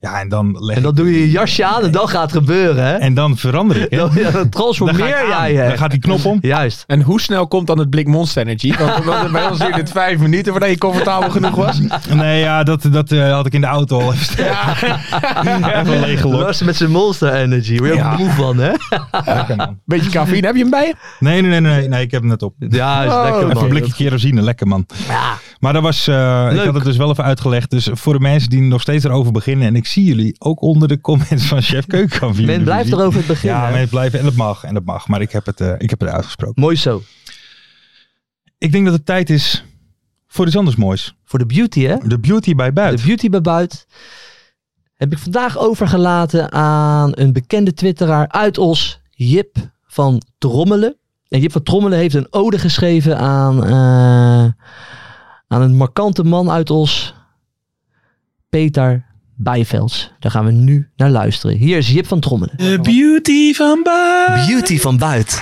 Speaker 5: Ja, en dan leg
Speaker 6: En dan doe je je jasje aan en dan gaat het gebeuren,
Speaker 5: *laughs*
Speaker 6: hè?
Speaker 5: En dan verander ik. hè.
Speaker 6: Dan, ja, dan
Speaker 5: Dan ga ik
Speaker 6: transformeer
Speaker 5: aan.
Speaker 6: jij
Speaker 5: Dan
Speaker 6: hè?
Speaker 5: gaat die knop om.
Speaker 6: Juist.
Speaker 7: *laughs* En hoe snel komt dan het blik Monster Energy? Want, want bij ons duurde het vijf minuten voordat je comfortabel genoeg was.
Speaker 5: Nee, ja, dat, dat eh, had ik in de auto al even, staan. *laughs*
Speaker 7: *laughs*
Speaker 5: even leeggelopen.
Speaker 6: Lars met zijn monster energy. Word je
Speaker 5: Ja.
Speaker 6: ook moe van, hè?
Speaker 5: Lekker, man.
Speaker 7: Beetje cafeïne, heb je hem bij je?
Speaker 5: Nee, nee, nee, nee, nee, ik heb hem net op. Oh,
Speaker 6: Ja, is lekker,
Speaker 5: Even
Speaker 6: man.
Speaker 5: een blikje kerosine, lekker man.
Speaker 6: Ja.
Speaker 5: Maar dat was, eh, ik
Speaker 6: Leuk.
Speaker 5: had het dus wel even uitgelegd. Dus voor de mensen die nog steeds erover beginnen. En ik zie jullie ook onder de comments van Chef Keukenkampioen.
Speaker 6: Men blijft erover het begin,
Speaker 5: Ja,
Speaker 6: hè?
Speaker 5: men blijft en dat mag en dat mag. Maar ik heb het, eh, ik heb het uitgesproken.
Speaker 6: Mooi zo.
Speaker 5: Ik denk dat het tijd is voor iets anders moois.
Speaker 6: Voor de beauty, hè?
Speaker 5: De beauty bij buiten.
Speaker 6: De beauty bij buiten heb ik vandaag overgelaten aan een bekende twitteraar uit Os, Jip van Trommelen. En Jip van Trommelen heeft een ode geschreven aan, eh, aan een markante man uit Os, Peter Bijvelds. Daar gaan we nu naar luisteren. Hier is Jip van Trommelen. De beauty van buiten. Beauty van buiten.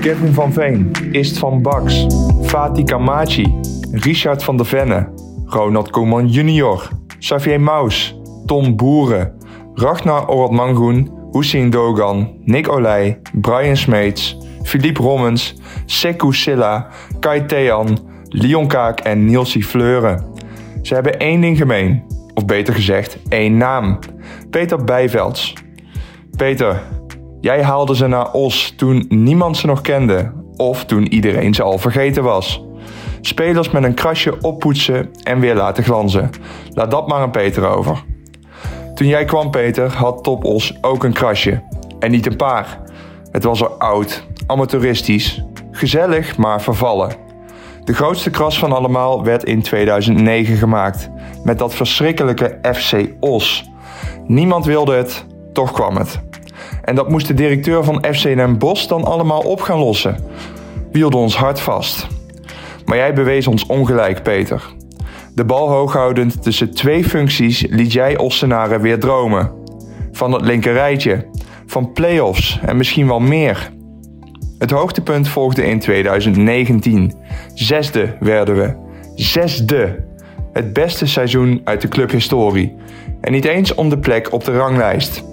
Speaker 10: Kevin van Veen, Ist van Baks, Fatih Kamachi, Richard van der Venne, Ronald Koeman junior, Xavier Maus, Tom Boeren, Ragnar Oratmangoen, Hussein Dogan, Nick Olij, Brian Smeets, Philippe Rommens, Sekou Silla, Kai Thean, Leon Kaak en Nielsie Fleuren. Ze hebben één ding gemeen, of beter gezegd één naam. Peter Bijvelds. Peter, jij haalde ze naar Os toen niemand ze nog kende of toen iedereen ze al vergeten was. Spelers met een krasje oppoetsen en weer laten glanzen. Laat dat maar aan Peter over. Toen jij kwam, Peter, had Top Os ook een krasje. En niet een paar. Het was er oud, amateuristisch, gezellig, maar vervallen. De grootste kras van allemaal werd in 2009 gemaakt. Met dat verschrikkelijke FC Os. Niemand wilde het, toch kwam het. En dat moest de directeur van FC Den Bosch dan allemaal op gaan lossen. We hielden ons hart vast. Maar jij bewees ons ongelijk, Peter. De bal hooghoudend tussen twee functies liet jij Ossenaren weer dromen. Van het linkerrijtje, van play-offs en misschien wel meer. Het hoogtepunt volgde in 2019. Zesde werden we. Zesde! Het beste seizoen uit de clubhistorie. En niet eens om de plek op de ranglijst.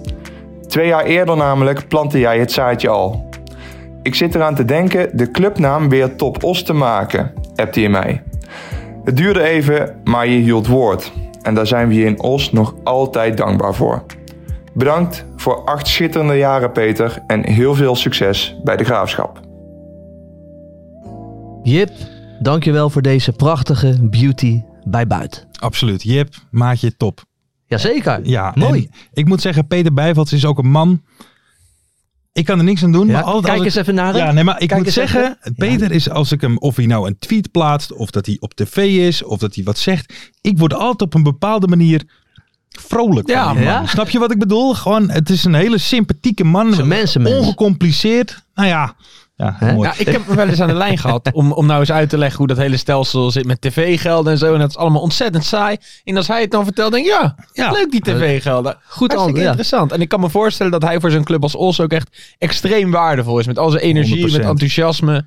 Speaker 10: Twee jaar eerder namelijk plantte jij het zaadje al. Ik zit eraan te denken de clubnaam weer Top Os te maken, appte je mij. Het duurde even, maar je hield woord. En daar zijn we je in Os nog altijd dankbaar voor. Bedankt voor acht schitterende jaren, Peter, en heel veel succes bij de graafschap.
Speaker 6: Jip, dankjewel voor deze prachtige beauty bij Buit.
Speaker 5: Absoluut. Jip, maatje, top.
Speaker 6: Jazeker.
Speaker 5: Ja,
Speaker 6: Mooi.
Speaker 5: en Ik moet zeggen, Peter Bijvelds is ook een man. Ik kan er niks aan doen.
Speaker 6: Ja,
Speaker 5: maar altijd
Speaker 6: kijk
Speaker 5: als ik-
Speaker 6: eens even naar hem.
Speaker 5: Ja, nee, maar ik
Speaker 6: Kijk
Speaker 5: moet
Speaker 6: eens
Speaker 5: zeggen, Peter is als ik hem, of hij nou een tweet plaatst, of dat hij op tv is, of dat hij wat zegt. Ik word altijd op een bepaalde manier vrolijk.
Speaker 7: Ja,
Speaker 5: van die man.
Speaker 6: ja.
Speaker 5: Snap je wat ik bedoel? Gewoon, het is een hele sympathieke man.
Speaker 6: is een mensenmens.
Speaker 5: Ongecompliceerd. Nou ja, ja
Speaker 6: Hè?
Speaker 5: mooi.
Speaker 7: Ja, ik heb hem wel eens aan de lijn gehad om, om nou eens uit te leggen hoe dat hele stelsel zit met tv-gelden en zo. En dat is allemaal ontzettend saai. En als hij het dan vertelt, denk ik, ja,
Speaker 5: Ja.
Speaker 7: leuk die tv-gelden. Goed
Speaker 6: antwoord, ja.
Speaker 7: interessant. En ik kan me voorstellen dat hij voor zo'n club als Os ook echt extreem waardevol is. Met al zijn energie,
Speaker 5: 100%.
Speaker 7: met enthousiasme.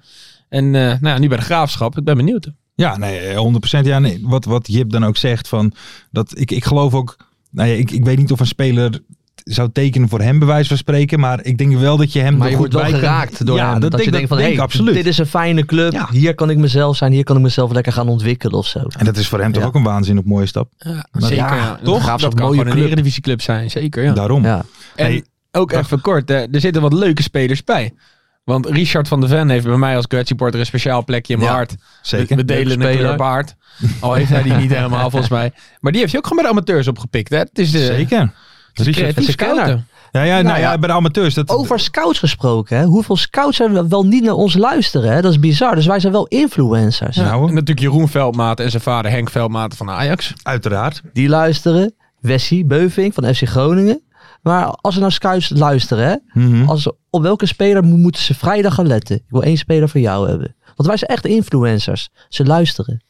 Speaker 7: En eh, nou ja, nu bij de graafschap. Ik ben benieuwd.
Speaker 5: Ja, nee, 100%. Ja, nee. Wat, wat Jip dan ook zegt, van dat ik, ik geloof ook. Nou ja, ik, ik weet niet of een speler t- zou tekenen voor hem, bij wijze van spreken. Maar ik denk wel dat je hem.
Speaker 6: Maar
Speaker 5: er
Speaker 6: je
Speaker 5: goed
Speaker 6: wordt wel
Speaker 5: bij kan-
Speaker 6: geraakt door
Speaker 5: ja,
Speaker 6: hem. Dat,
Speaker 5: denk,
Speaker 6: je denkt van,
Speaker 5: denk ik
Speaker 6: hey,
Speaker 5: absoluut.
Speaker 6: dit is een fijne club.
Speaker 5: Ja.
Speaker 6: Hier kan ik mezelf zijn. Hier kan ik mezelf lekker gaan ontwikkelen of zo.
Speaker 5: En dat is voor hem toch
Speaker 6: Ja.
Speaker 5: ook een waanzinnig mooie stap.
Speaker 7: Zeker.
Speaker 5: ja,
Speaker 7: ja.
Speaker 5: toch?
Speaker 7: De graafschap
Speaker 5: Dat
Speaker 7: kan
Speaker 5: mooie
Speaker 7: gewoon een
Speaker 5: club.
Speaker 7: eredivisieclub zijn. Zeker, ja.
Speaker 5: Daarom.
Speaker 6: Ja.
Speaker 7: En
Speaker 5: Hey,
Speaker 7: ook even kort, eh, er zitten wat leuke spelers bij. Want Richard van der Ven heeft bij mij als kwetsieporter een speciaal plekje in mijn
Speaker 6: Ja,
Speaker 7: hart.
Speaker 5: Zeker.
Speaker 7: We
Speaker 6: Leuke
Speaker 7: delen een
Speaker 6: speler.
Speaker 7: kleur baard. Al heeft hij die niet helemaal volgens mij. Maar die heeft hij ook gewoon bij de amateurs opgepikt. Hè? Het is de,
Speaker 5: Zeker.
Speaker 7: Het is
Speaker 5: Richard
Speaker 7: creatief
Speaker 5: van
Speaker 6: Scanner.
Speaker 7: scouten.
Speaker 5: Ja, ja, nou,
Speaker 6: Nou ja.
Speaker 5: ja, bij de amateurs. Dat,
Speaker 6: Over scouts gesproken. Hè? Hoeveel scouts zijn wel niet naar ons luisteren? Hè? Dat is bizar. Dus wij zijn wel influencers.
Speaker 5: Nou,
Speaker 7: En natuurlijk Jeroen Veldmaat en zijn vader Henk Veldmaat van de Ajax.
Speaker 5: uiteraard.
Speaker 6: Die luisteren. Wessie Beuving van FC Groningen. Maar als ze naar scouts luisteren. Hè?
Speaker 5: Mhm.
Speaker 6: Als, ze- op welke speler mo- moeten ze vrijdag gaan letten? Ik wil één speler voor jou hebben. Want wij zijn echt influencers. Ze luisteren.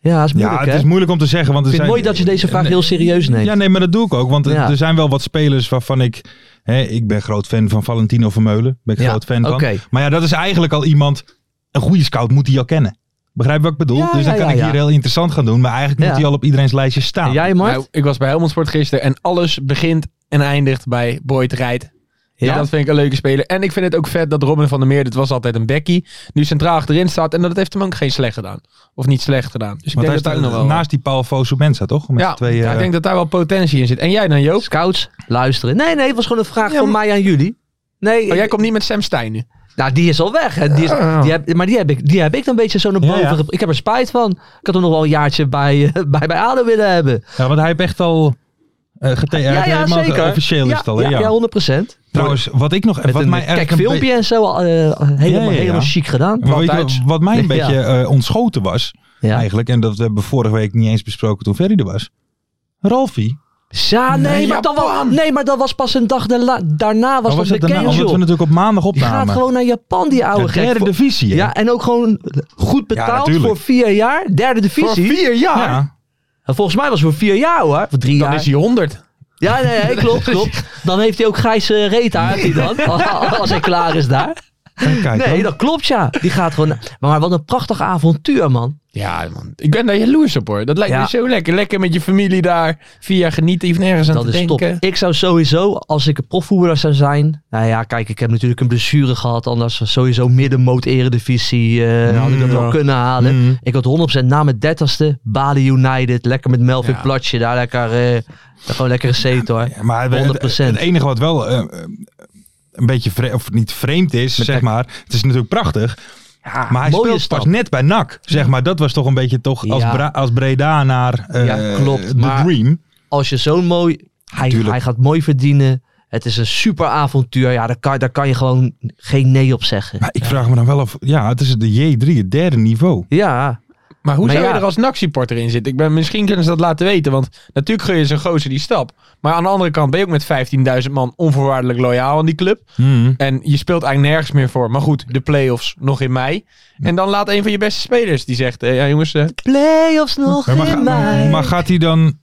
Speaker 6: Ja, dat is
Speaker 5: Ja,
Speaker 6: moeilijk
Speaker 5: het
Speaker 6: hè?
Speaker 5: is moeilijk om te zeggen. Want er
Speaker 6: Ik vind het
Speaker 5: zijn-
Speaker 6: mooi dat je deze vraag heel serieus neemt.
Speaker 5: Ja, nee, maar dat doe ik ook. Want er-
Speaker 6: Ja.
Speaker 5: er zijn wel wat spelers waarvan ik... Hè, ik ben groot fan van Valentino Vermeulen. Ben ik
Speaker 6: Ja,
Speaker 5: groot fan van.
Speaker 6: oké.
Speaker 5: Maar ja, dat is eigenlijk al iemand... Een goede scout moet hij al kennen. Begrijp je wat ik bedoel?
Speaker 6: Ja,
Speaker 5: dus dan
Speaker 6: ja,
Speaker 5: kan
Speaker 6: ja,
Speaker 5: ik hier
Speaker 6: ja.
Speaker 5: heel interessant gaan doen. Maar eigenlijk
Speaker 6: Ja.
Speaker 5: moet hij al op iedereen's lijstje staan.
Speaker 6: En jij, Mart?
Speaker 7: Nou, ik was bij Helmond Sport gisteren en alles begint en eindigt bij Boyd Rijt. Ja. dat vind ik een leuke speler. En ik vind het ook vet dat Robin van der Meer, dit was altijd een bekkie, nu centraal achterin staat. En dat heeft hem ook geen slecht gedaan. Of niet slecht gedaan. Dus ik
Speaker 5: Want
Speaker 7: denk
Speaker 5: hij
Speaker 7: dat daar
Speaker 5: staat
Speaker 7: ook nog wel...
Speaker 5: naast die Paul Fosu-Mensa, toch? Met
Speaker 7: ja,
Speaker 5: z'n twee,
Speaker 7: ja, ik
Speaker 5: eh,
Speaker 7: denk dat daar wel potentie in zit. En jij dan, Joop?
Speaker 6: Scouts, luisteren. Nee, nee, het was gewoon een vraag
Speaker 7: Ja,
Speaker 6: van
Speaker 7: maar-
Speaker 6: mij aan jullie. Nee,
Speaker 7: Oh, jij
Speaker 6: ik-
Speaker 7: komt niet met Sam Stein nu.
Speaker 6: nou, die is al weg. Hè. Die is, die heb, maar die heb, ik, die heb ik dan een beetje zo naar
Speaker 5: Ah. Ja,
Speaker 6: boven.
Speaker 5: ja.
Speaker 6: gep- Ik heb er spijt van. Ik had hem nog wel een jaartje bij, eh, *laughs* bij, bij ADO willen hebben.
Speaker 5: Ja, want hij heeft echt al... eh gete-
Speaker 6: Ja,
Speaker 5: hij
Speaker 6: ja,
Speaker 5: heeft helemaal
Speaker 6: zeker.
Speaker 5: Officieel is het al, hè?
Speaker 6: ja, ja.
Speaker 5: Ja.
Speaker 6: 100 procent.
Speaker 5: Trouwens, wat ik nog...
Speaker 6: Met
Speaker 5: wat
Speaker 6: een
Speaker 5: mij
Speaker 6: kijk,
Speaker 5: erg een
Speaker 6: filmpje en zo. eh,
Speaker 5: ja, ja.
Speaker 6: helemaal, helemaal chic gedaan.
Speaker 5: Maar weet je
Speaker 7: Altijd.
Speaker 5: wat- wat mij een
Speaker 6: *laughs* Ja.
Speaker 5: beetje eh, ontschoten was,
Speaker 6: Ja.
Speaker 5: eigenlijk, en dat hebben we vorige week niet eens besproken toen Ferry er was. Ralfie.
Speaker 6: Ja, nee,
Speaker 7: Nee,
Speaker 6: maar dat was,
Speaker 7: Japan.
Speaker 6: nee, maar dat was pas een dag daarna. Daarna was
Speaker 5: Oh,
Speaker 6: dat
Speaker 5: het daarna?
Speaker 6: bekend,
Speaker 5: Omdat we
Speaker 6: joh.
Speaker 5: natuurlijk op maandag
Speaker 6: Die gaat
Speaker 5: opnamen.
Speaker 6: gewoon naar Japan, die oude
Speaker 5: de derde
Speaker 6: gek. Voor-
Speaker 5: divisie. hè?
Speaker 6: Ja, en ook gewoon goed betaald
Speaker 5: natuurlijk.
Speaker 6: voor vier jaar. Derde divisie. Nou,
Speaker 7: Voor vier jaar?
Speaker 5: Ja.
Speaker 6: En Volgens mij was het voor vier jaar hoor. Voor drie
Speaker 7: Dan
Speaker 6: jaar.
Speaker 7: is hij 100.
Speaker 6: Ja, nee, nee, klopt, klopt. Dan heeft hij ook grijze reet aan, heeft hij dan. *laughs* Als hij klaar is daar.
Speaker 5: Kijk,
Speaker 6: Nee,
Speaker 5: hoor.
Speaker 6: dat klopt ja. Die gaat gewoon... Maar wat een prachtig avontuur, man.
Speaker 7: Ja, man. Ik ben daar jaloers op, hoor. Dat lijkt
Speaker 6: Ja.
Speaker 7: me zo lekker. Lekker met je familie daar. Vier jaar genieten. Even nergens aan
Speaker 6: Dat
Speaker 7: te
Speaker 6: is top.
Speaker 7: denken.
Speaker 6: Ik zou sowieso, als ik een profvoetballer zou zijn... Nou ja, kijk, ik heb natuurlijk een blessure gehad. Anders was sowieso middenmoot eredivisie. eh, had ik dat wel
Speaker 7: Mm, ja.
Speaker 6: kunnen halen.
Speaker 7: Mm.
Speaker 6: Ik had 100% na mijn 30ste Bali United. Lekker met Melvin
Speaker 7: Ja.
Speaker 6: Platje. Daar lekker... eh, gewoon lekker gezeten hoor.
Speaker 5: Maar we- het,
Speaker 6: 100%.
Speaker 5: het enige wat wel eh, eh, een beetje, vre- of niet vreemd is, zeg maar. Het is natuurlijk prachtig. maar hij
Speaker 6: mooie
Speaker 5: speelt
Speaker 6: stap.
Speaker 5: pas net bij NAC, zeg maar. Dat was toch een beetje toch als,
Speaker 6: Ja.
Speaker 5: Bra- als Breda naar eh
Speaker 6: Ja, klopt.
Speaker 5: de
Speaker 6: Maar-
Speaker 5: Dream.
Speaker 6: als je zo'n mooi... Hij,
Speaker 5: Tuurlijk.
Speaker 6: hij gaat mooi verdienen. Het is een super avontuur. Ja, daar kan, daar kan je gewoon geen nee op zeggen.
Speaker 5: Maar ik vraag me dan wel af, ja, het is de J3, het derde niveau.
Speaker 6: Ja,
Speaker 7: Maar hoe
Speaker 6: Maar
Speaker 7: zou
Speaker 6: ja.
Speaker 7: je er als NAC-supporter in zitten? Ik ben, misschien kunnen ze dat laten weten. Want natuurlijk gun je zo'n gozer die stap. Maar aan de andere kant ben je ook met 15.000 man onvoorwaardelijk loyaal aan die club.
Speaker 6: Hmm.
Speaker 7: En je speelt eigenlijk nergens meer voor. Maar goed, de play-offs nog in mei. En dan laat een van je beste spelers die zegt... eh, ja, jongens, eh,
Speaker 6: playoffs nog
Speaker 5: Maar,
Speaker 6: in mei.
Speaker 5: ga- maar gaat hij dan...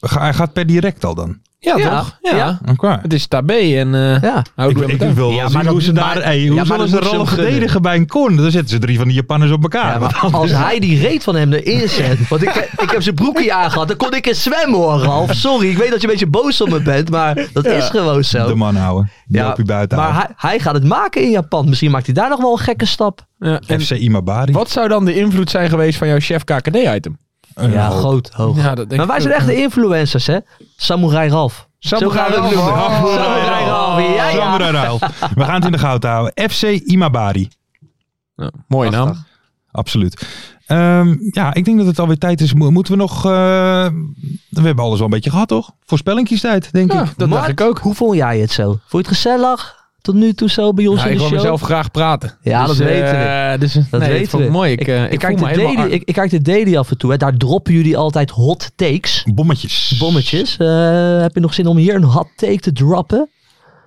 Speaker 5: Ga, hij gaat per direct al dan?
Speaker 7: ja,
Speaker 6: Ja,
Speaker 7: toch? Ja.
Speaker 6: ja.
Speaker 5: Oké.
Speaker 7: Het is tabé en... eh
Speaker 6: ja.
Speaker 7: hou
Speaker 5: Ik,
Speaker 7: ik,
Speaker 5: ik wil wel
Speaker 6: Ja, maar
Speaker 5: zien
Speaker 6: dat-
Speaker 5: hoe ze daar...
Speaker 6: maar-
Speaker 5: hey,
Speaker 6: ja,
Speaker 5: hoe
Speaker 6: maar
Speaker 5: zullen
Speaker 6: dat
Speaker 5: ze
Speaker 6: moet ze
Speaker 5: rollen
Speaker 6: hem gunnen.
Speaker 5: verdedigen bij een corner? Dan zetten ze drie van die Japanners op elkaar.
Speaker 6: Ja, maar *laughs* als
Speaker 5: dus-
Speaker 6: hij die reet van hem erin zet. Want ik, ik heb zijn broekje aangehad. Dan kon ik in zwemmen hoor, Ralf. Sorry, ik weet dat je een beetje boos op me bent. Maar dat is gewoon zo.
Speaker 5: De man houden. Die
Speaker 6: Ja,
Speaker 5: loop je buiten
Speaker 6: maar hij, hij gaat het maken in Japan. Misschien maakt hij daar nog wel een gekke stap.
Speaker 7: ja, en
Speaker 5: FC Imabari.
Speaker 7: wat zou dan de invloed zijn geweest van jouw chef KKD-item?
Speaker 5: Een
Speaker 6: ja,
Speaker 5: hoop.
Speaker 6: groot, hoog.
Speaker 7: Ja, dat denk
Speaker 6: maar wij
Speaker 7: ik
Speaker 6: zijn
Speaker 7: ook,
Speaker 6: echt
Speaker 7: ja.
Speaker 6: de influencers, hè? Samurai Ralf.
Speaker 7: Samurai
Speaker 6: Zo gaan we het
Speaker 7: Ralf.
Speaker 6: noemen.
Speaker 5: Oh,
Speaker 7: Samurai
Speaker 6: Samurai
Speaker 7: Ralf.
Speaker 6: Ralf, ja, ja.
Speaker 5: Samurai Ralf. We gaan het in de goud houden. FC Imabari.
Speaker 7: Ja, mooie naam.
Speaker 5: Absoluut. Ehm, ja, ik denk dat het alweer tijd is. Mo- Moeten we nog... eh, we hebben alles wel een beetje gehad, toch? Voorspellingkiestijd, denk
Speaker 7: Ja,
Speaker 5: ik.
Speaker 7: dat dacht
Speaker 6: Mart,
Speaker 7: ik ook.
Speaker 6: Hoe vond jij het zo? Vond je het gezellig? Tot nu toe zo bij ons
Speaker 7: Nou,
Speaker 6: in
Speaker 7: ik
Speaker 6: de
Speaker 7: wil
Speaker 6: show?
Speaker 7: mezelf graag praten.
Speaker 6: Ja, dat
Speaker 7: eh,
Speaker 6: weten we.
Speaker 7: Dus,
Speaker 6: Dat
Speaker 7: nee,
Speaker 6: weten
Speaker 7: vond ik
Speaker 6: we.
Speaker 7: mooi. Ik, eh, ik,
Speaker 6: kijk
Speaker 7: voel me
Speaker 6: de
Speaker 7: helemaal...
Speaker 6: daily,
Speaker 7: ar-
Speaker 6: ik, ik kijk de daily af en toe. Hè. Daar droppen jullie altijd hot takes.
Speaker 5: Bommetjes.
Speaker 6: Bommetjes. Eh, heb je nog zin om hier een hot take te droppen?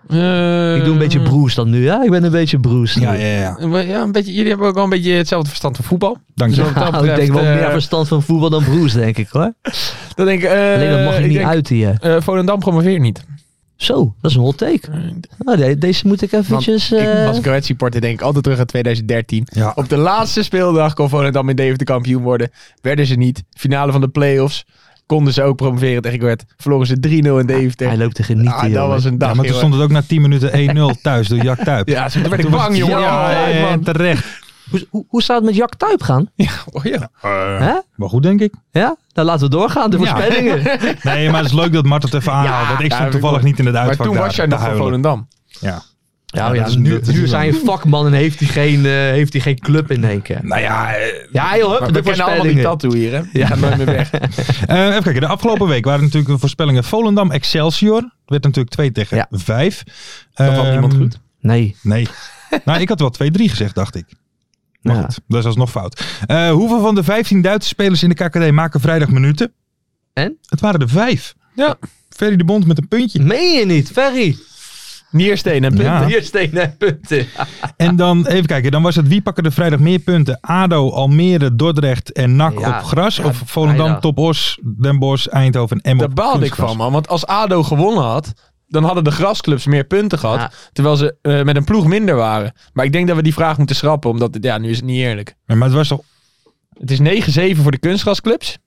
Speaker 7: Eh,
Speaker 6: ik doe een beetje broes dan nu, hè? Ik ben een beetje broes.
Speaker 5: Ja, ja, ja.
Speaker 7: Ja, een beetje, jullie hebben ook wel een beetje hetzelfde verstand van voetbal.
Speaker 5: Dank
Speaker 6: *laughs*
Speaker 5: je.
Speaker 7: Zo. wat dat
Speaker 6: ik denk
Speaker 7: betreft,
Speaker 6: wel
Speaker 7: eh,
Speaker 6: meer verstand van voetbal dan broes, denk ik hoor.
Speaker 7: Dan denk ik, eh,
Speaker 6: Alleen dat mag je
Speaker 7: ik
Speaker 6: niet
Speaker 7: denk,
Speaker 6: uit hier.
Speaker 7: eh, Volendam promoveert niet.
Speaker 6: Zo, dat is een hot take.
Speaker 7: Eh,
Speaker 6: Nou, de- deze moet ik eventjes...
Speaker 7: Ik,
Speaker 6: eh,
Speaker 7: als Goethe supporter denk ik altijd terug aan 2013.
Speaker 5: Ja.
Speaker 7: Op de laatste speeldag kon Volendam in Deventer kampioen worden. Werden ze niet. Finale van de play-offs. Konden ze ook promoveren tegen Goethe. Verloren ze 3-0 in Deventer.
Speaker 6: hij loopt te genieten,
Speaker 7: Ah, dat
Speaker 6: jongen.
Speaker 7: was een dag,
Speaker 5: Ja, maar toen
Speaker 7: jongen.
Speaker 5: stond het ook na 10
Speaker 7: *laughs*
Speaker 5: minuten 1-0 thuis door Jack Tuip.
Speaker 7: Ja, toen werd ik
Speaker 5: Toen was-
Speaker 7: bang, jongen.
Speaker 5: Ja,
Speaker 7: Ja,
Speaker 5: en
Speaker 7: man.
Speaker 5: terecht.
Speaker 6: Hoe, hoe, hoe zou het met Jack Tuip gaan?
Speaker 7: Oh, ja.
Speaker 6: Hè?
Speaker 5: Maar goed, denk ik.
Speaker 6: Ja? Nou, laten we doorgaan. De
Speaker 5: Ja.
Speaker 7: *laughs*
Speaker 6: voorspellingen.
Speaker 5: Nee, maar het is leuk dat Mart het even aanhaalt. want ik
Speaker 7: ja,
Speaker 5: stond
Speaker 7: ik
Speaker 5: toevallig
Speaker 7: bedoel-
Speaker 5: niet in het
Speaker 7: Maar
Speaker 5: uitvak
Speaker 7: toen
Speaker 5: daar
Speaker 7: was jij
Speaker 5: te
Speaker 7: nog van
Speaker 5: huilen.
Speaker 7: Volendam.
Speaker 5: Ja.
Speaker 6: Ja,
Speaker 5: dat
Speaker 6: ja,
Speaker 5: is-
Speaker 6: nu,
Speaker 5: dat is
Speaker 6: nu
Speaker 5: wel
Speaker 6: is hij een vakman en heeft hij geen, eh, heeft hij geen club in één keer.
Speaker 5: Nou ja, eh,
Speaker 6: Ja, joh,
Speaker 7: Maar
Speaker 6: hup,
Speaker 7: we
Speaker 6: de
Speaker 7: kennen allemaal
Speaker 6: voorspellingen.
Speaker 7: die tattoo hier, hè? Die gaat nooit meer weg.
Speaker 5: *laughs* Eh, even kijken, de afgelopen week waren natuurlijk de voorspellingen Volendam Excelsior. Het werd natuurlijk 2 tegen
Speaker 6: Ja.
Speaker 5: 5.
Speaker 7: Dat had niemand goed.
Speaker 6: Nee.
Speaker 5: Nee. nou, ik had wel 2-3 gezegd, dacht ik. Maar
Speaker 6: Ja.
Speaker 5: goed, dat is alsnog fout. Eh, hoeveel van de 15 Duitse spelers in de KKD maken vrijdag minuten?
Speaker 6: En?
Speaker 5: Het waren er vijf.
Speaker 7: Ja.
Speaker 5: Ferry de Bond met een puntje.
Speaker 6: Meen je niet, Ferry?
Speaker 7: Niersteen en punten.
Speaker 5: Ja.
Speaker 6: Hier stenen en punten.
Speaker 5: En dan, even kijken, dan was het wie pakken er vrijdag meer punten? ADO, Almere, Dordrecht en NAC
Speaker 6: Ja,
Speaker 5: op gras.
Speaker 6: ja,
Speaker 5: of Volendam,
Speaker 6: vrijdag.
Speaker 5: Top Os, Den Bosch, Eindhoven en M
Speaker 7: Daar baalde ik van, man. Want als ADO gewonnen had, dan hadden de grasclubs meer punten gehad.
Speaker 6: Ja.
Speaker 7: Terwijl ze eh, met een ploeg minder waren. Maar ik denk dat we die vraag moeten schrappen, omdat het- ja, nu is het niet eerlijk.
Speaker 5: Maar het was toch...
Speaker 7: Het is 9-7 voor de kunstgrasclubs.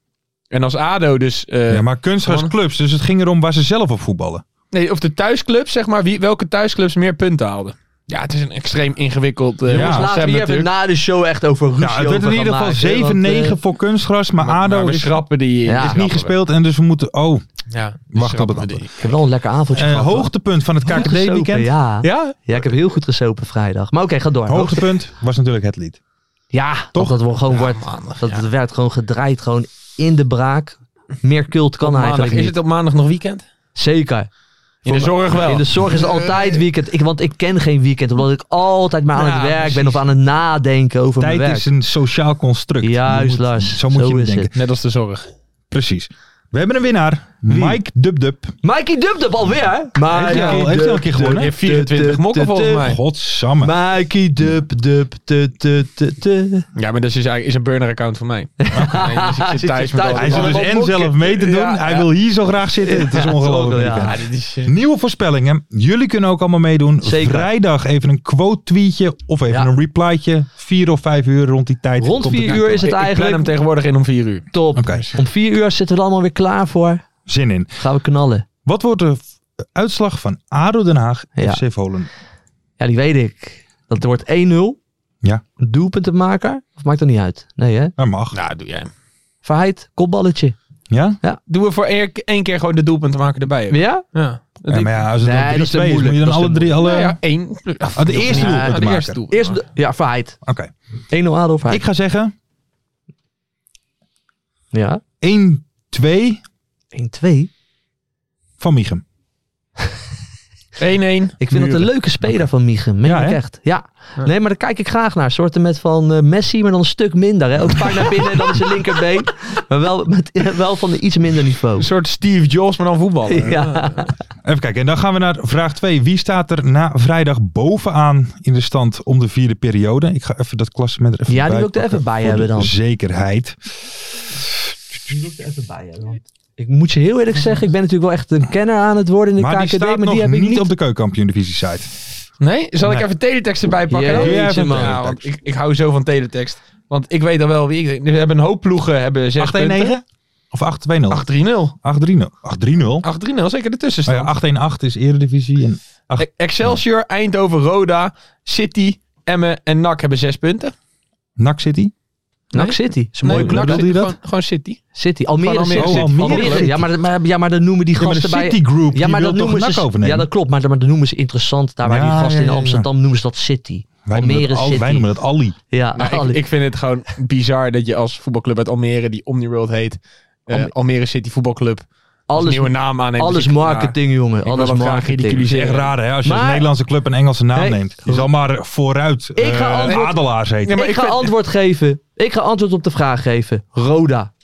Speaker 7: En als ADO dus... eh,
Speaker 5: ja, maar kunstgrasclubs, dus het ging erom waar ze zelf op voetballen.
Speaker 7: nee, of de thuisclubs, zeg maar, wie, welke thuisclubs meer punten haalden. Ja, het is een extreem ingewikkeld... eh,
Speaker 5: Ja.
Speaker 7: concept
Speaker 6: Laten we hier even
Speaker 7: natuurlijk.
Speaker 6: na de show echt over ruzie
Speaker 5: Ja, Nou, het werd in
Speaker 6: over
Speaker 5: ieder
Speaker 6: gaan
Speaker 5: geval
Speaker 6: maken, want,
Speaker 5: 7-9
Speaker 6: eh, nou,
Speaker 5: voor kunstgras, maar,
Speaker 7: Maar
Speaker 5: ADO
Speaker 7: we
Speaker 5: is,
Speaker 7: schrappen die...
Speaker 6: Ja.
Speaker 7: die
Speaker 5: is
Speaker 7: schrappen
Speaker 5: niet
Speaker 7: we.
Speaker 5: gespeeld en dus we moeten... Oh,
Speaker 7: Ja, die
Speaker 5: Wacht op
Speaker 7: schrappen
Speaker 5: het
Speaker 7: we die.
Speaker 6: Ik heb wel een lekker avondje
Speaker 5: eh,
Speaker 6: gehad. hoor.
Speaker 5: hoogtepunt van het
Speaker 6: Goed gesopen,
Speaker 5: KKD-weekend.
Speaker 6: Ja. ja.
Speaker 7: Ja,
Speaker 6: ik heb heel goed gesopen vrijdag. Maar oké, ga door.
Speaker 5: Hoogtepunt was natuurlijk het lied.
Speaker 6: Ja,
Speaker 5: Toch?
Speaker 6: toch? Dat, wordt gewoon wordt, dat het werd gewoon gedraaid, gewoon in de braak. Meer cult kan
Speaker 7: maandag.
Speaker 6: eigenlijk
Speaker 7: Is
Speaker 6: niet.
Speaker 7: het op maandag nog weekend?
Speaker 6: Zeker.
Speaker 7: In de zorg wel.
Speaker 6: In de zorg is het altijd weekend. Ik, want ik ken geen weekend, omdat ik altijd maar aan
Speaker 7: Ja,
Speaker 6: het werk ben
Speaker 7: precies.
Speaker 6: of aan het nadenken over
Speaker 5: Tijd
Speaker 6: mijn werk.
Speaker 5: is een sociaal construct. Je
Speaker 6: Juist,
Speaker 5: moet-
Speaker 6: Lars.
Speaker 5: Zo moet
Speaker 6: Zo
Speaker 5: je
Speaker 6: is
Speaker 5: denken.
Speaker 7: Net als de zorg.
Speaker 5: Precies. We hebben een winnaar. Mike Dubdub.
Speaker 6: Mikey Dubdub alweer. Maar
Speaker 5: Heeft hij al- heeft hij al een keer gewonnen?
Speaker 7: Je hebt 24 mokken volgens mij.
Speaker 5: Godsamme.
Speaker 6: Mikey Dub Dub te te te te.
Speaker 7: Ja, maar dat is, dus eigenlijk- is een burner-account voor
Speaker 6: *laughs*
Speaker 7: mij. Nee, dus ik
Speaker 6: Zit je
Speaker 7: zit thuis met
Speaker 6: thuis?
Speaker 7: al
Speaker 5: hij
Speaker 7: die
Speaker 5: zit dus
Speaker 7: ballen.
Speaker 5: en zelf mee te doen.
Speaker 7: Ja,
Speaker 5: hij
Speaker 7: ja.
Speaker 5: wil hier zo graag zitten. het is ongelooflijk.
Speaker 6: Ja,
Speaker 7: Ja, dit is... eh,
Speaker 5: Nieuwe voorspellingen. Jullie kunnen ook allemaal meedoen.
Speaker 6: Zeker.
Speaker 5: Vrijdag even een quote-tweetje of even
Speaker 6: Ja.
Speaker 5: een replytje. Vier of vijf uur rond die tijd.
Speaker 6: Rond
Speaker 5: komt het
Speaker 6: vier
Speaker 5: uit.
Speaker 6: uur is het
Speaker 7: ik- Ik plan hem
Speaker 6: eigenlijk
Speaker 7: tegenwoordig in om 4 uur.
Speaker 6: top.
Speaker 5: Oké,
Speaker 6: Om vier uur zitten we er allemaal weer klaar voor.
Speaker 5: zin in.
Speaker 6: Gaan we knallen.
Speaker 5: Wat wordt de f- uitslag van ADO Den Haag
Speaker 6: Ja.
Speaker 5: FC Volendam?
Speaker 6: Ja, die weet ik. Dat wordt 1-0.
Speaker 5: Ja.
Speaker 6: Doelpuntenmaker. Of maakt dat niet uit? Nee hè?
Speaker 5: Dat mag.
Speaker 7: Nou, doe jij.
Speaker 6: Verheid, kopballetje.
Speaker 5: Ja?
Speaker 7: Doen we voor één- één keer gewoon de doelpunten maken erbij. ook.
Speaker 6: Ja?
Speaker 7: Ja. Dat
Speaker 5: ja
Speaker 7: ik-
Speaker 5: maar ja, als het
Speaker 6: Nee,
Speaker 5: dan
Speaker 6: dat is
Speaker 5: 3 2
Speaker 6: te
Speaker 5: is, moet je
Speaker 6: moeilijk.
Speaker 5: dan
Speaker 6: Dat is
Speaker 5: alle
Speaker 6: te
Speaker 5: drie... Alle...
Speaker 7: Nou ja, één.
Speaker 5: Ah, de eerste
Speaker 6: Ja,
Speaker 5: doelpunt
Speaker 7: Ja,
Speaker 5: te
Speaker 7: de
Speaker 5: maken.
Speaker 7: eerste doelpunt.
Speaker 6: Eerst, de- ja, Verheid.
Speaker 5: Oké.
Speaker 6: 1-0 ADO Verheid.
Speaker 5: Ik ga zeggen
Speaker 6: Ja.
Speaker 5: 1-2
Speaker 6: 1-2.
Speaker 5: van Michem.
Speaker 7: 1-1.
Speaker 6: Ik vind dat een
Speaker 5: Muren.
Speaker 6: leuke speler van Michem.
Speaker 5: Ja,
Speaker 6: Ja,
Speaker 5: hè?
Speaker 6: echt. Ja. Nee, maar daar kijk ik graag naar. Soorten met van eh, Messi, maar dan een stuk minder. Hè? Ook vaak naar binnen en dan zijn linkerbeen. Maar wel, met, wel van een iets minder niveau.
Speaker 7: Een soort Steve Jobs, maar dan voetballen.
Speaker 6: *laughs* Ja.
Speaker 5: Even kijken. En dan gaan we naar vraag 2. Wie staat er na vrijdag bovenaan in de stand om de vierde periode? Ik ga even dat klassement er even
Speaker 6: Ja, die wil ik er
Speaker 5: bijpakken
Speaker 6: even bij
Speaker 5: voor
Speaker 6: hebben
Speaker 5: de
Speaker 6: dan.
Speaker 5: Zekerheid.
Speaker 6: Ik moet je heel eerlijk zeggen, ik ben natuurlijk wel echt een kenner aan het worden in de
Speaker 5: maar die
Speaker 6: KKD.
Speaker 5: staat
Speaker 6: maar
Speaker 5: nog
Speaker 6: die heb ik
Speaker 5: niet,
Speaker 6: niet.
Speaker 5: op de keukenkampioen divisie site.
Speaker 7: Nee? Zal ik
Speaker 5: Nee.
Speaker 7: even teletext erbij pakken? dan?
Speaker 6: Jeetje,
Speaker 5: Doe jij even
Speaker 6: man.
Speaker 7: Ja, want ik, ik hou zo van teletext. Want ik weet dan wel wie ik... We hebben een hoop ploegen, hebben 6 punten.
Speaker 5: 8-1-9? Of 8-2-0?
Speaker 7: 8-3-0.
Speaker 5: 8-3-0. 8-3-0? Oh
Speaker 7: 8-3-0, zeker de tussenstand.
Speaker 5: ja, 8-1-8 is eredivisie. En
Speaker 6: Oh
Speaker 5: acht-
Speaker 7: E- Excelsior, Eindhoven, Roda, City, Emmen en NAC hebben 6 punten.
Speaker 5: NAC City?
Speaker 6: NAC City. Is een mooie
Speaker 7: NAC
Speaker 6: club.
Speaker 5: bedoelde je dat?
Speaker 7: Gewoon, gewoon City.
Speaker 6: City. Almere,
Speaker 7: Van Almere
Speaker 6: City.
Speaker 7: City.
Speaker 5: Oh,
Speaker 6: Almere
Speaker 5: Almere
Speaker 6: City. Ja, maar, maar, ja, maar dan noemen die
Speaker 5: Ja, maar de
Speaker 6: gasten bij...
Speaker 5: City Group
Speaker 6: Ja, maar
Speaker 5: die
Speaker 6: dat
Speaker 5: wil toch
Speaker 6: noemen
Speaker 5: NAC
Speaker 6: ze... Ja,
Speaker 5: overnemen?
Speaker 6: dat klopt. Maar, maar dan noemen ze interessant. Daar waar
Speaker 5: Ja,
Speaker 6: die gasten
Speaker 5: ja, ja,
Speaker 6: in
Speaker 5: ja.
Speaker 6: Amsterdam noemen ze dat City.
Speaker 5: wij, noemen
Speaker 6: Almere
Speaker 5: dat al-
Speaker 6: City.
Speaker 5: wij noemen dat Ali.
Speaker 6: Ja,
Speaker 7: Maar Nou, ik,
Speaker 6: alle-
Speaker 7: ik vind het gewoon bizar dat je als voetbalclub uit Almere, die Omniworld heet, eh,
Speaker 6: Alme-
Speaker 7: Almere City Voetbalclub, als
Speaker 6: alles,
Speaker 7: nieuwe naam aanneemt.
Speaker 6: alles
Speaker 7: Dus ik-
Speaker 6: marketing, jongen.
Speaker 7: ik wil
Speaker 6: Alles
Speaker 7: dat graag
Speaker 6: marketing.
Speaker 7: ridiculiseren.
Speaker 5: Echt raar hè, als je
Speaker 6: Maar-
Speaker 5: als Nederlandse club een Engelse naam
Speaker 6: Nee.
Speaker 5: neemt. Je zal maar vooruit
Speaker 6: Ik ga
Speaker 5: eh,
Speaker 6: antwoord-
Speaker 5: Adelaars heten.
Speaker 7: Ja, maar
Speaker 6: ik
Speaker 7: ik
Speaker 6: ga
Speaker 7: vind-
Speaker 6: antwoord geven. Ik ga antwoord op de vraag geven. *laughs* Roda.
Speaker 7: Ja,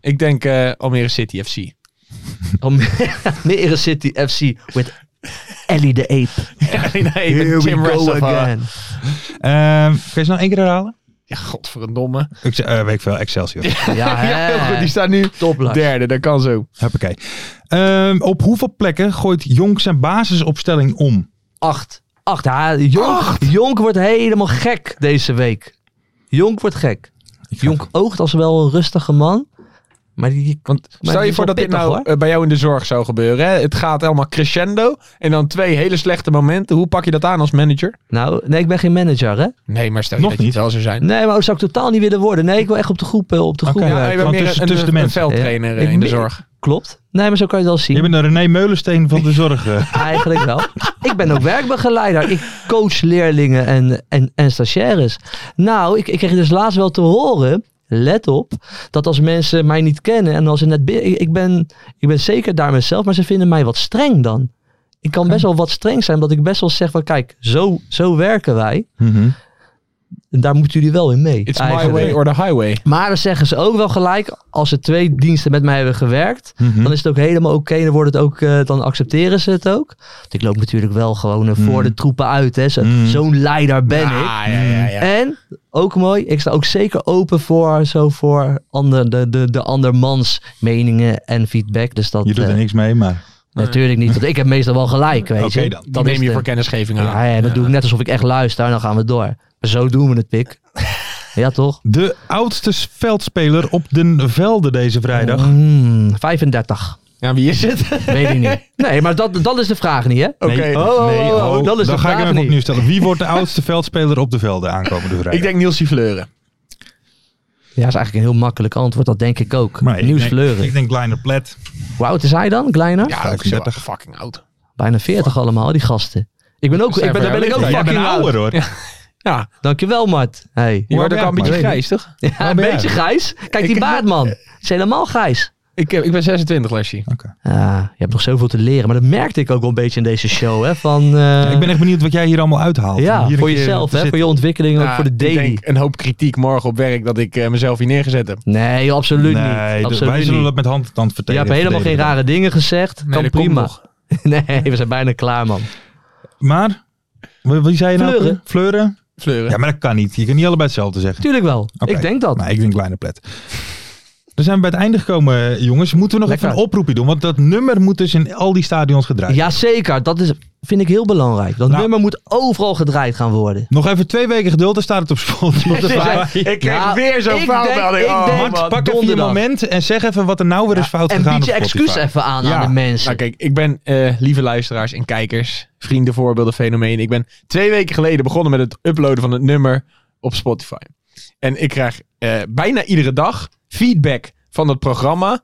Speaker 7: ik denk eh, Almere
Speaker 6: *laughs*
Speaker 7: City FC.
Speaker 6: Almere City FC with Ellie de Ape.
Speaker 7: nee,
Speaker 6: Here
Speaker 7: Jim
Speaker 6: we go
Speaker 7: Rastafari.
Speaker 6: again.
Speaker 5: Ehm, kun je ze nou één keer herhalen?
Speaker 7: Ja, *laughs* godverdomme.
Speaker 5: Ik, zeg, eh, weet ik veel, Excelsior.
Speaker 6: *laughs* Ja,
Speaker 7: *laughs* Ja, heel
Speaker 6: hè.
Speaker 7: goed. Die staat nu
Speaker 6: Top, Lars.
Speaker 7: derde. Dat kan zo.
Speaker 5: Hoppakee. Ehm, op hoeveel plekken gooit Jonk zijn basisopstelling om?
Speaker 6: Acht. Acht. Ja, Jonk, Jonk wordt helemaal gek deze week. Jonk wordt gek. Jonk oogt als wel een rustige man. Maar die...
Speaker 7: Want
Speaker 6: Maar
Speaker 7: stel
Speaker 6: die
Speaker 7: je
Speaker 6: is
Speaker 7: voor
Speaker 6: wel
Speaker 7: dat dit
Speaker 6: pittig,
Speaker 7: nou
Speaker 6: hoor.
Speaker 7: eh, bij jou in de zorg zou gebeuren. Hè? Het gaat helemaal crescendo. En dan twee hele slechte momenten. Hoe pak je dat aan als manager?
Speaker 6: Nou, nee, ik ben geen manager, hè?
Speaker 7: Nee, maar stel
Speaker 5: Nog
Speaker 7: je dat
Speaker 5: niet.
Speaker 7: je het wel zou zijn.
Speaker 6: Nee, maar dat zou ik totaal niet willen worden. Nee, ik wil echt op de groep, eh, op de groep
Speaker 5: Oké.
Speaker 6: werken.
Speaker 7: je
Speaker 5: gewoon
Speaker 7: bent meer
Speaker 5: tussen-
Speaker 7: een,
Speaker 5: tussen de
Speaker 7: een- een
Speaker 5: mensen.
Speaker 7: veldtrainer eh,
Speaker 6: Ik
Speaker 7: in de
Speaker 6: ben-
Speaker 7: zorg.
Speaker 6: Klopt. Nee, maar zo kan je het wel zien.
Speaker 5: Je bent een René Meulensteen van de zorg. eh.
Speaker 6: *laughs* Eigenlijk wel. ik ben ook werkbegeleider. Ik coach leerlingen en, en, en stagiaires. Nou, ik, ik kreeg dus laatst wel te horen. Let op dat als mensen mij niet kennen en als ze net binnen. Ik, ik ben, ik ben zeker daar mezelf, maar ze vinden mij wat streng dan. Ik kan best wel wat streng zijn, omdat ik best wel zeg van kijk, zo, zo werken wij. En daar moeten jullie wel in mee.
Speaker 7: It's my
Speaker 6: eigenlijk.
Speaker 7: way or the highway.
Speaker 6: Maar dan zeggen ze ook wel gelijk, als ze twee diensten met mij hebben gewerkt,
Speaker 5: Mhm.
Speaker 6: dan is het ook helemaal oké. dan wordt het ook, eh, dan accepteren ze het ook. Want ik loop natuurlijk wel gewoon eh,
Speaker 5: Mhm.
Speaker 6: voor de troepen uit. hè. Zo-
Speaker 5: Mm.
Speaker 6: Zo'n leider ben
Speaker 7: Ah,
Speaker 6: ik.
Speaker 7: ja, ja, ja.
Speaker 6: En ook mooi, ik sta ook zeker open voor, zo voor ander, de, de, de andermans meningen en feedback. Dus dat
Speaker 5: Je doet er
Speaker 6: eh,
Speaker 5: niks mee, maar...
Speaker 6: natuurlijk niet. Want ik heb meestal wel gelijk. Weet
Speaker 5: Oké
Speaker 6: je.
Speaker 5: dan.
Speaker 7: Dan neem
Speaker 6: is
Speaker 7: je
Speaker 6: de-
Speaker 7: voor kennisgeving aan.
Speaker 6: Ja, ja, dat doe ik net alsof ik echt luister. En dan gaan we door. Maar zo doen we het,
Speaker 5: *laughs*
Speaker 6: pik. Ja, toch?
Speaker 5: De oudste veldspeler op den velden deze vrijdag.
Speaker 6: Mm, 35.
Speaker 7: Ja, wie is het? *laughs*
Speaker 6: Weet ik niet. *laughs* Nee, maar dat, dat is de vraag niet, hè?
Speaker 7: Oké.
Speaker 5: Nee,
Speaker 6: Oh,
Speaker 5: nee,
Speaker 6: oh, oh, dat is
Speaker 5: dan
Speaker 6: de
Speaker 5: ga ik
Speaker 6: vraag
Speaker 5: hem even
Speaker 6: niet.
Speaker 5: opnieuw stellen. Wie wordt de oudste veldspeler op de velden aankomende vrijdag?
Speaker 7: Ik denk Nielsie Fleuren.
Speaker 6: Ja, is eigenlijk een heel makkelijk antwoord. Dat denk ik ook.
Speaker 5: Maar ik
Speaker 6: Nieuws
Speaker 5: denk-
Speaker 6: Fleuren.
Speaker 5: Ik denk Kleiner Plet.
Speaker 6: Hoe oud is hij dan, Kleiner?
Speaker 7: Ja, ook
Speaker 5: 35.
Speaker 7: zo fucking oud.
Speaker 6: Bijna 40 allemaal, die gasten. Ik ben ook,
Speaker 7: Zijn
Speaker 6: ik ben,
Speaker 7: van
Speaker 6: daar ben ik
Speaker 7: jouw
Speaker 6: ook
Speaker 5: Jij
Speaker 6: fucking
Speaker 5: bent
Speaker 6: oud.
Speaker 5: ouder hoor.
Speaker 7: Ja,
Speaker 6: Dankjewel, Mart. Hey.
Speaker 7: je
Speaker 5: Hoe
Speaker 7: wordt ook
Speaker 5: oud
Speaker 7: al een
Speaker 5: ben
Speaker 7: beetje
Speaker 5: jij?
Speaker 7: grijs, toch?
Speaker 6: Ja, een
Speaker 5: ben
Speaker 6: beetje
Speaker 5: jij?
Speaker 6: grijs. Kijk, die
Speaker 7: Ik-
Speaker 6: baard, man. Het is helemaal grijs.
Speaker 7: Ik, heb, ik ben 26, Lesje.
Speaker 11: Ah, je hebt nog zoveel te leren. Maar dat merkte ik ook wel een beetje in deze show. Hè, van, eh,
Speaker 5: Ja, ik ben echt benieuwd wat jij hier allemaal uithaalt.
Speaker 11: ja,
Speaker 5: Om hier een
Speaker 11: voor
Speaker 5: keer
Speaker 11: jezelf,
Speaker 5: te
Speaker 11: hè, voor
Speaker 5: zitten.
Speaker 11: je ontwikkeling, ook
Speaker 7: Nou,
Speaker 11: voor de
Speaker 7: ik
Speaker 11: daily.
Speaker 7: denk een hoop kritiek morgen op werk dat ik eh, mezelf hier neergezet heb.
Speaker 11: Nee, joh, absoluut
Speaker 5: Nee,
Speaker 11: niet.
Speaker 5: dus
Speaker 11: Absoluut
Speaker 5: wij zullen
Speaker 11: niet.
Speaker 5: dat met hand en tand
Speaker 11: Je
Speaker 5: vertellen.
Speaker 11: hebt helemaal geen rare dingen gezegd.
Speaker 7: Nee,
Speaker 11: kan
Speaker 7: dat komt
Speaker 11: prima.
Speaker 7: nog.
Speaker 11: *laughs* Nee, we zijn bijna klaar, man.
Speaker 5: Maar, wie wie zei je nou?
Speaker 11: Fleuren.
Speaker 5: Fleuren?
Speaker 7: Fleuren.
Speaker 5: Ja, maar dat kan niet. Je kan niet allebei hetzelfde zeggen.
Speaker 11: Tuurlijk wel.
Speaker 5: Oké.
Speaker 11: Ik denk dat.
Speaker 5: Nou, ik denk kleine plet. Dan zijn we bij het einde gekomen, eh, jongens. Moeten we nog
Speaker 7: Lekker.
Speaker 5: even een oproepje doen? Want dat nummer moet dus in al die stadions gedraaid.
Speaker 11: Jazeker, dat is, vind ik heel belangrijk. Dat
Speaker 5: Nou.
Speaker 11: nummer moet overal gedraaid gaan worden.
Speaker 5: Nog even twee weken geduld, dan staat het op
Speaker 11: *laughs*
Speaker 5: Spotify.
Speaker 7: Ik kreeg
Speaker 11: Ja,
Speaker 7: weer zo'n
Speaker 11: ik
Speaker 7: foutmelding.
Speaker 11: denk- ik
Speaker 7: Oh,
Speaker 11: denk-
Speaker 7: man.
Speaker 5: Max, pak even je
Speaker 11: donderdag. Dus
Speaker 5: moment en zeg even wat er nou weer is fout
Speaker 11: En
Speaker 5: gegaan
Speaker 11: bied je
Speaker 5: op Spotify.
Speaker 11: excuus even aan
Speaker 5: Ja.
Speaker 11: aan de mensen.
Speaker 7: Nou kijk, ik ben, eh, lieve luisteraars en kijkers, vrienden, voorbeelden, fenomenen. Ik ben twee weken geleden begonnen met het uploaden van het nummer op Spotify. En ik krijg eh, bijna iedere dag feedback van dat programma.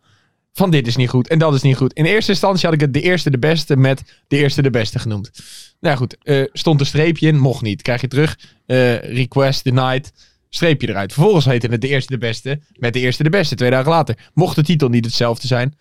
Speaker 7: Van dit is niet goed en dat is niet goed. In eerste instantie had ik het de eerste de beste met de eerste de beste genoemd. Nou goed, eh, stond een streepje in, mocht niet. Krijg je terug, eh, request denied, streepje eruit. Vervolgens heette het de eerste de beste met de eerste de beste, twee dagen later. Mocht de titel niet hetzelfde zijn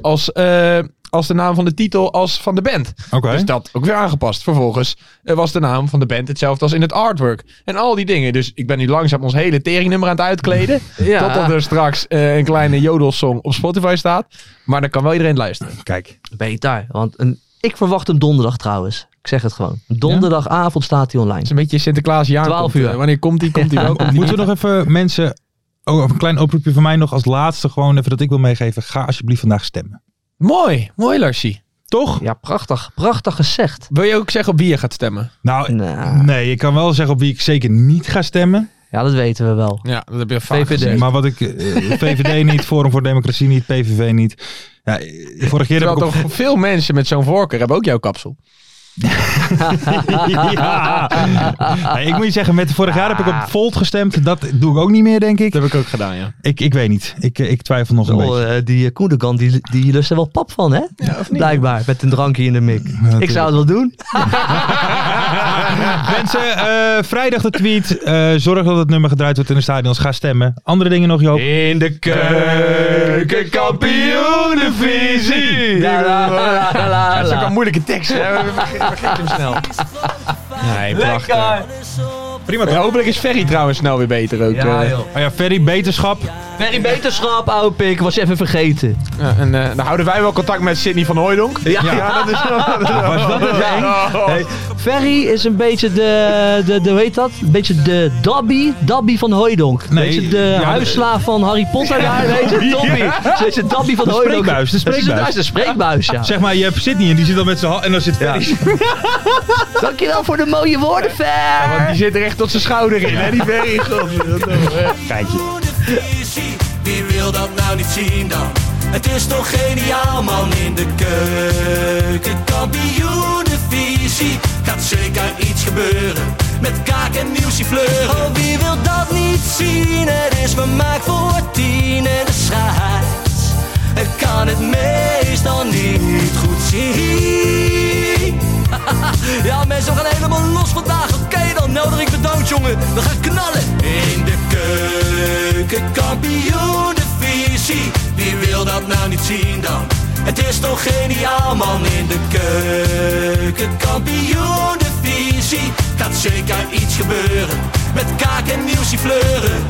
Speaker 7: als, eh, als de naam van de titel als van de band.
Speaker 5: Oké.
Speaker 7: Dus dat ook weer aangepast. Vervolgens eh, was de naam van de band hetzelfde als in het artwork. En al die dingen. Dus ik ben nu langzaam ons hele teringnummer aan het uitkleden. *laughs*
Speaker 11: Ja.
Speaker 7: Totdat er straks eh, een kleine jodelsong op Spotify staat. Maar dan kan wel iedereen het luisteren.
Speaker 5: Kijk,
Speaker 11: Beter. Want een, ik verwacht hem donderdag trouwens. Ik zeg het gewoon. Donderdagavond staat hij
Speaker 7: Het is
Speaker 11: online.
Speaker 7: een beetje Sinterklaasjaar.
Speaker 11: 12
Speaker 7: komt,
Speaker 11: uur.
Speaker 7: eh, wanneer komt die? *laughs* Komt die wel? Komt die
Speaker 5: moeten we nog even mensen... Oh, een klein oproepje van mij nog als laatste. Gewoon even dat ik wil meegeven. Ga alsjeblieft vandaag stemmen.
Speaker 7: niet? Mooi. Mooi, Larsie.
Speaker 5: Toch?
Speaker 11: Ja, prachtig. Prachtig gezegd.
Speaker 7: Wil je ook zeggen op wie je gaat stemmen?
Speaker 5: Nou,
Speaker 11: Nou,
Speaker 5: nee. Ik kan wel zeggen op wie ik zeker niet ga stemmen.
Speaker 11: ja, dat weten we wel.
Speaker 7: Ja, dat heb je vaak
Speaker 11: VVD.
Speaker 7: gezegd.
Speaker 5: Maar wat ik... eh,
Speaker 7: *laughs*
Speaker 5: VVD niet, Forum voor Democratie niet, PVV niet. Ja, eh, vorige keer heb
Speaker 7: Terwijl
Speaker 5: ik *laughs* op...
Speaker 7: toch veel mensen met zo'n voorkeur hebben ook jouw kapsel.
Speaker 5: ja. Nee, ik moet je zeggen, met vorig jaar heb ik op Volt gestemd. Dat doe ik ook niet meer, denk ik.
Speaker 7: Ah. Dat heb ik ook gedaan, ja.
Speaker 5: Ik, ik weet niet. Ik, eh, ik twijfel nog een
Speaker 11: Wel,
Speaker 5: beetje.
Speaker 11: eh, die eh, Koendegan, die, die lust er wel pap van, hè? Blijkbaar, met een drankje in de mik. ik zou het wel doen.
Speaker 5: Mensen, eh, vrijdag de tweet. Eh, zorg dat het nummer gedraaid wordt in de stadions. Ga stemmen. Andere dingen nog, Joop?
Speaker 7: In de keukenkampioenenvisie.
Speaker 11: La, la, la, la, la,
Speaker 7: Dat is ook
Speaker 11: la.
Speaker 7: een moeilijke tekst. hè? We verge- vergeten hem snel. Nee, prachtig. Prima. Ja, hopelijk is Ferry trouwens snel weer beter ook.
Speaker 11: Ja,
Speaker 7: eh.
Speaker 11: joh.
Speaker 5: Oh ja, Ferry, beterschap.
Speaker 11: Ferry Beterschap, ouwe pik. Was je even vergeten.
Speaker 5: Oh,
Speaker 7: Ja, en eh, dan houden wij wel contact met Sidney van Hooydonk.
Speaker 11: Ja.
Speaker 7: dat is
Speaker 5: Was dat het eng?
Speaker 7: Hey,
Speaker 11: Ferry is een beetje de, de, de hoe heet dat? Een beetje de Dabby, Dabby van Hooidonk.
Speaker 5: Nee,
Speaker 11: weet je, de
Speaker 5: ja,
Speaker 11: huisslaaf van Harry Potter daar, weet
Speaker 5: *laughs*
Speaker 11: je, Dobby. Zo is het Dabby van
Speaker 5: De
Speaker 11: Hooidonk.
Speaker 5: spreekbuis, de
Speaker 11: Dat is-
Speaker 5: spreekbuis.
Speaker 11: Dat is de spreekbuis,
Speaker 5: *laughs*
Speaker 11: ja.
Speaker 5: Zeg maar, je hebt Sydney en die zit al met zijn hand. En dan zit Ferry.
Speaker 11: Dankjewel voor de mooie woorden, Fer.
Speaker 7: want die zit er echt tot zijn schouder in, hè, die Ferry. Kijk je.
Speaker 6: Wie wil dat nou niet zien dan? Het is toch geniaal man in de keuken. Kampioenenvisie. Gaat zeker iets gebeuren. Met kaak en nieuwsie fleuren. Oh, wie wil dat niet zien? Het is vermaakt voor tien en de scheids. Ik kan het meestal niet goed zien. Ja, mensen, we gaan helemaal los vandaag. Oké, dan nodig ik de dood, jongen. We gaan knallen. In de keuken, kampioenenvisie. Wie wil dat nou niet zien dan? Het is toch geniaal, man. In de keuken, kampioenenvisie. Gaat zeker iets gebeuren. Met kaak en nieuwsie fleuren.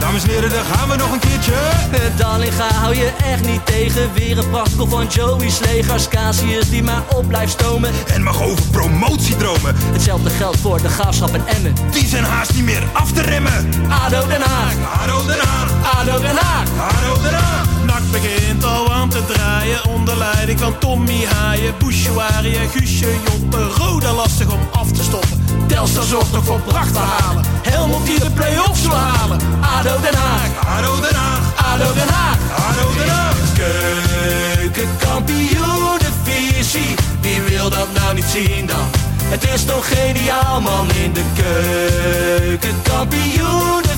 Speaker 12: Dames en heren, daar gaan we nog een keertje.
Speaker 6: Eh, Dallinga hou je echt niet tegen. Weer een prachtkel van Joey's legers. Casius die maar op blijft stomen. Eh,
Speaker 12: En mag over promotiedromen.
Speaker 6: Hetzelfde geldt voor de graafschap en Emmen.
Speaker 12: Die zijn haast niet meer af te remmen.
Speaker 6: ADO Den Haag,
Speaker 12: Haro Den Haag,
Speaker 6: ADO Den Haag.
Speaker 12: Haro Den Haag.
Speaker 6: Nak begint al aan te draaien onder leiding van Tommy Haaien, Bouchouari en Guusje Joppen. Roda lastig om af te stoppen. Telstra zorgt nog voor pracht te halen. Helmond die de play-offs wil halen. ADO Den Haag,
Speaker 12: Haro Den Haag,
Speaker 6: ADO Den Haag.
Speaker 12: Haro Den Haag.
Speaker 6: Keukenkampioenenvisie, wie wil dat nou niet zien dan? Het is toch geniaal man in de keukenkampioenenvisie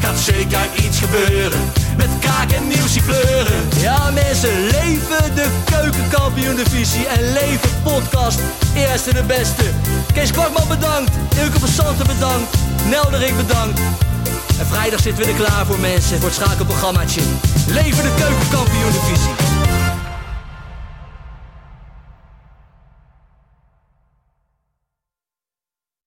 Speaker 6: Gaat zeker iets gebeuren, met kaak en nieuwsie pleuren Ja mensen, leven kampioendivisie en leven podcast. Eerste de beste. Kees Kwakman bedankt. Ilke van Santen bedankt. Nelderik bedankt. En vrijdag zitten we er klaar voor mensen voor het schakelprogrammaatje. Leven de keukenkampioen.